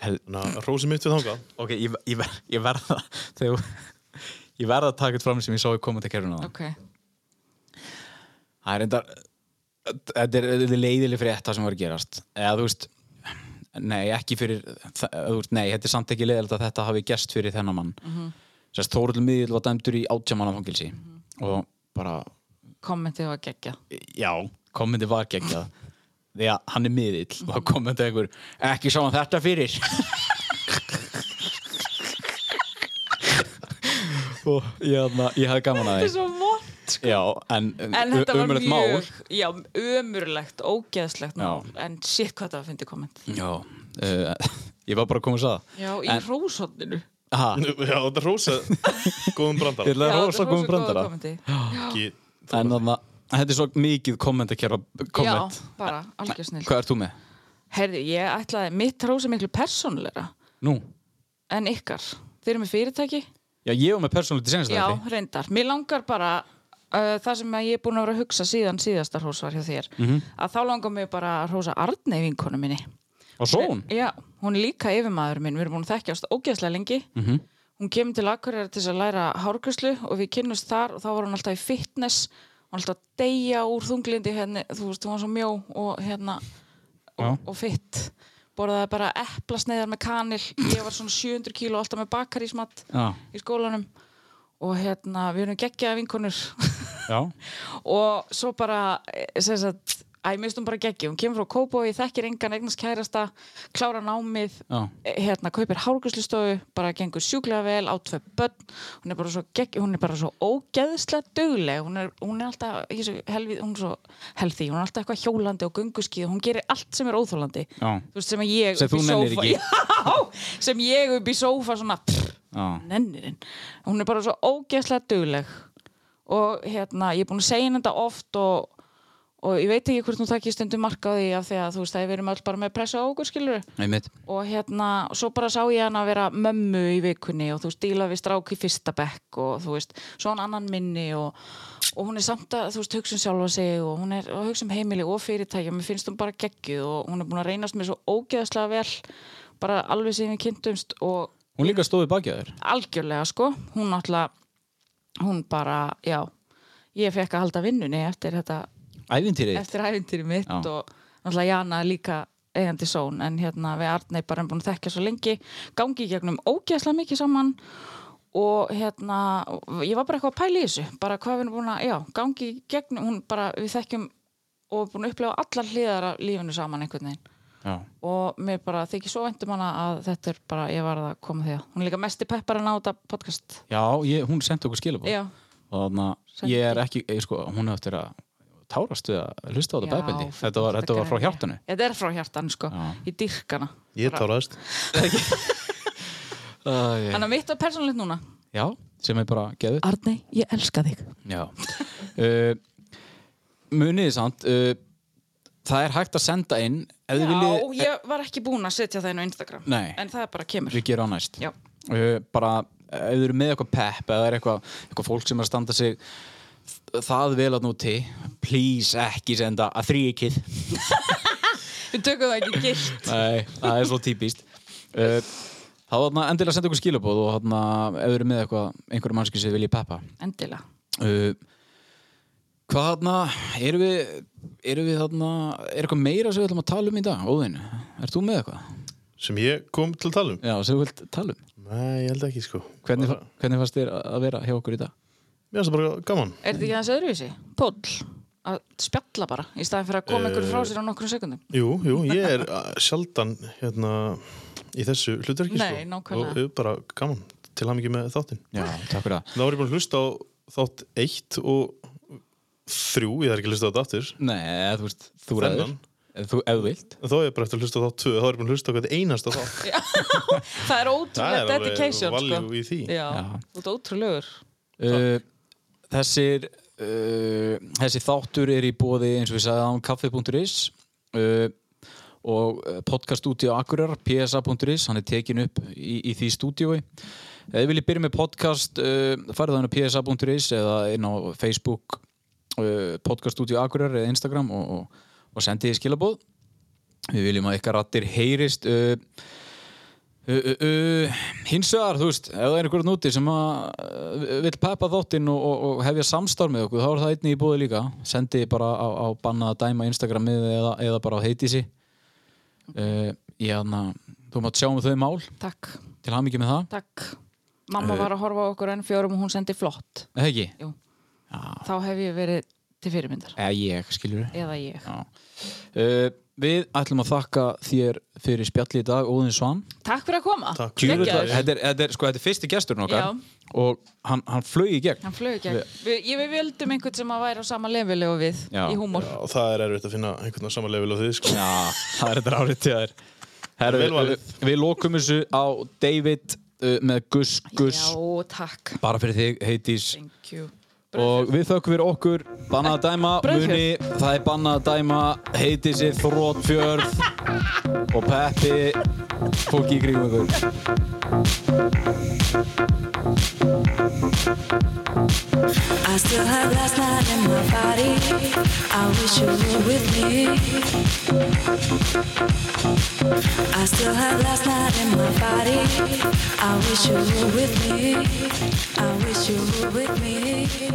S1: Hel,
S3: þannig að rósi mitt við þangað
S1: Ok, ég, ég, ver, ég verða þegar ég verða að taka þetta fram sem ég sá í kommentarkerfinu á
S2: Ok.
S1: Það er endar þetta er, þetta er leiðileg fyrir þetta sem var að gerast eða þú veist nei, ekki fyrir þa- eða, þú veist, nei, þetta er samt ekki leiðilegt að þetta hafi gerst fyrir þennan mann mm
S2: Mhm.
S1: -hmm. Sérst, Þórull Miðil var dæmdur í átjámanna fangilsi
S2: Mhm.
S1: og bara,
S2: Kommentið var geggja.
S1: já, kommenti var geggjað því að hann er miðill og þá kommenti einhver, ekki sá hann þetta fyrir og ég, þarna- ég hafði gaman að
S2: Þetta er
S1: því
S2: svo vond
S1: já, en, um-
S2: En þetta var
S1: ömurlegt
S2: mjög, já, ömurlegt, ógeðslegt mál, en shit hvað það var að fyndi komment.
S1: já, uh, ég var bara að koma að það
S2: Já, í
S1: En-
S2: en, rósotninu.
S1: ha,
S3: Já, þetta er rósa góðum
S1: ég
S3: brandara
S1: ætlaði að rosa komum brandara
S3: Ekki-
S1: en þarna, þetta er svo mikið kommentarkerfa komment
S2: Já, bara, algjör snill.
S1: hvað ert þú með?
S2: Herði, ég ætlaði, mitt hrós er miklu persónulegra
S1: Nú,
S2: en ykkar. Þeir eru með fyrirtæki?
S1: já ég var með persónlítið
S2: Já,
S1: senastæði
S2: reyndar. Mér langar bara, uh, það sem að ég er búin að vera að hugsa síðan síðasta hrós var hjá þér,
S1: Mhm.
S2: að þá langar mér bara að hrósa Arnei vinkonu minni.
S1: og svo hún,
S2: Eh, Já, hún er líka yfirmaður minn, við erum búin að þekkjast ógeðslega lengi.
S1: Mhm.
S2: Hún kemur til Akureyri til þess að læra hárgjörslu og við kynnumst þar og þá var hún alltaf í fitness, hún var alltaf að deyja úr þunglindi, henni, þú veist, hún var svo mjó og hérna,
S1: Já.
S2: og, og fitt. Borðaði bara eplasneiðar með kanil, ég var svona 700 kíló alltaf með bakarísmat
S1: já,
S2: í skólanum og hérna, við erum geggjaði vinkonur.
S1: já
S2: og svo bara eh, sem sagt, æ, mér stum bara geggi hún kemur frá Kóbo, ég þekkir engan eignast kærasta klára námið
S1: Já.
S2: eh, hérna, kaupir hárgjörslustofu, bara gengur sjúklega vel á tvei börn, hún er bara svo geggi, hún er bara svo ógeðslega dugleg hún er, hún er alltaf, ég svo helvið hún er svo helþý, hún er alltaf eitthvað hjólandi og gunguskið, hún gerir allt sem er óþólandi
S1: Já.
S2: þú veist sem að ég
S1: Sem
S2: upp í
S1: þú nennir
S2: sófa-
S1: ekki.
S2: já, sem ég upp í sófa svona pff,
S1: Já.
S2: nennirinn hún er bara svo ógeðslega dugleg og hérna, ég er búin að segja henni þetta oft og, og ég veit ekki hvort hún takkir stundum marka á því af því að þú veist að við erum öll bara með pressa á okkur skilur
S1: einmitt,
S2: og hérna, og svo bara sá ég hann að vera mömmu í vikunni og þú veist, díla við strák í fyrsta bekk og þú veist, svona annan minni og, og hún er samt að, þú veist, hugsa um sjálfa sig og hún er að hugsa um heimili og fyrirtæki og mér finnst hún bara geggjuð og hún er búin að reynast mér svo ógeðslega vel bara alveg sem við kynntumst og
S1: hún líka stóði baki að þér
S2: algjörlega sko, hún náttúrulega hún bara, já ég fekk að halda vinnunni eftir þetta
S1: ævintýrið,
S2: eftir æfintýri mitt
S1: Já.
S2: og náttúrulega Jana líka eigandi són en hérna við Arnei bara erum búin að þekkja svo lengi gangi í gegnum ógeðslega mikið saman og hérna ég var bara eitthvað að pæla í þessu bara hvað við erum búin að, já, gangi í gegnum hún bara, við þekkjum og búin að upplefa allar hliðar af lífinu saman einhvern veginn
S1: já,
S2: og mér bara þykir svo væntum hana að þetta er bara, ég var að koma því að hún er líka mest í pepparinn á þetta podcast
S1: já ég, hún sendi okkur skilabóð
S2: já,
S1: og þannig að ég er ekki, ég, sko, hún hefði eftir að tárast við að hlusta á þetta beðbeldi
S2: Já,
S1: þetta var, þetta var frá hjartanu
S2: þetta er frá hjartan sko,
S1: Já.
S2: í dyrkana
S3: Ég táraðist
S2: þannig að mitt var persónlegt núna
S1: já, sem er bara geðut
S2: Arnei, ég elska þig
S1: já uh, muniði samt uh, það er hægt að senda inn ef þið
S2: Já,
S1: viljið,
S2: ég var ekki búin að setja það inn á Instagram
S1: Nei.
S2: En það bara kemur
S1: við gerum á næst
S2: Já,
S1: uh, bara ef þið eru með eitthvað pepp eða er eitthvað, eitthvað fólk sem er að standa sig það vel að núti please ekki senda að þrýkið
S2: við tökum það ekki gilt
S1: Nei, það er svo típist uh, Þá þarna endilega senda ykkur skilabóð og þarna ef við erum með eitthvað einhverjum mannski sem vilji peppa
S2: Endilega
S1: uh, Hvað þarna erum við, erum við þarna er eitthvað meira sem við ætlum að tala um í dag Óðinn, ert þú með eitthvað?
S3: sem ég kom til að tala um
S1: Já, sem við vilt tala um
S3: Nei, ég held ekki sko
S1: Hvernig,
S3: Bara-
S1: hvernig fannst þér að vera hjá okkur í dag?
S3: Mér finnst það bara gaman
S2: Er þetta ekki aðeins öðruvísi? Póll Að spjalla bara Í staðin fyrir að koma
S3: Eh.
S2: einhverju frá sér á nokkrum sekundum
S3: Jú, jú, ég er uh, sjaldan hérna í þessu hlutverki
S2: Nei,
S3: sko
S2: nákvæmlega.
S3: Og er bara gaman til hann ekki með þáttinn
S1: Já, takk fyrir það
S3: Þá var ég búin að hlusta á þátt 1 og 3, ég þarf ekki að hlusta á þetta aftur
S1: Nei, eða þú veist, þú ræður
S3: Þennan.
S1: Ef þú, ef þú vilt
S3: En Þá er ég bara eftir að hlusta á þátt 2, þá er ég búin að hlusta á hvert einasta þátt
S2: Það er ótrúlega dedication
S3: value
S2: sko.
S3: í því
S2: Já, þú ert ótrúlegur
S1: uh, Þessir uh, Þessi þáttur er í bóði eins og við sagðum kaffi.is uh, og eh, podcast stúdíu Akurar, psa.is hann er tekin upp í, í því stúdíu Ef þið viljið byrja með podcast uh, farið þannig psa.is eða inn á Facebook uh, podcast stúdíu Akurar eða Instagram og, og, og sendið þið skilabóð Við viljum að ykkar rattir heyrist uh, Uh, uh, uh, hins vegar, þú veist, ef það er einhverjum úti sem að uh, vill peppa þáttinn og, og, og hefja samstarf með okkur, þá er það einnig í búið líka sendi bara á, á bannaða dæma Instagramið eða, eða bara á heitísi uh, ég aðna þú mátt sjá um þau mál
S2: Takk,
S1: til ham með það,
S2: takk Mamma var að horfa á okkur enn fjórum og hún sendi flott
S1: eða ekki?
S2: Jú,
S1: Já,
S2: þá hef ég verið til fyrirmyndar
S1: eða ég, skilur
S2: Eða ég
S1: Já. Uh, við ætlum að þakka þér fyrir spjalli í dag, Óðin Svan
S2: Takk fyrir að koma
S3: Takk.
S1: Djöfull var-
S2: Geggjaður.
S1: þetta er, þetta er, sko, þetta er fyrsti gesturinn okkar
S2: Já.
S1: og hann, hann flög í gegn
S2: Hann flög ekki Við, ég- við völdum einhvern sem að væri á sama leveli og við
S1: Já.
S2: í húmor
S3: Já, það er erfitt að finna einhvern veginn samanlefil á því sko.
S1: Já, það er þetta árið til þær Herru,
S3: Vel valið.
S1: við, við lokum þessu á David uh, með Gus Gus
S2: Já, takk
S1: bara fyrir þig, Heitís
S2: Thank you
S1: og við þökkum fyrir okkur bannað að dæma,
S2: Brauðfjörð.
S1: muni það er bannað að dæma, Heitísi Þrótfjörð og Peppi fólki í kringum ykkur
S4: I still have last night in my body. I wish you were with me. I still have last night in my body. I wish you were with me. I wish you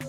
S4: me.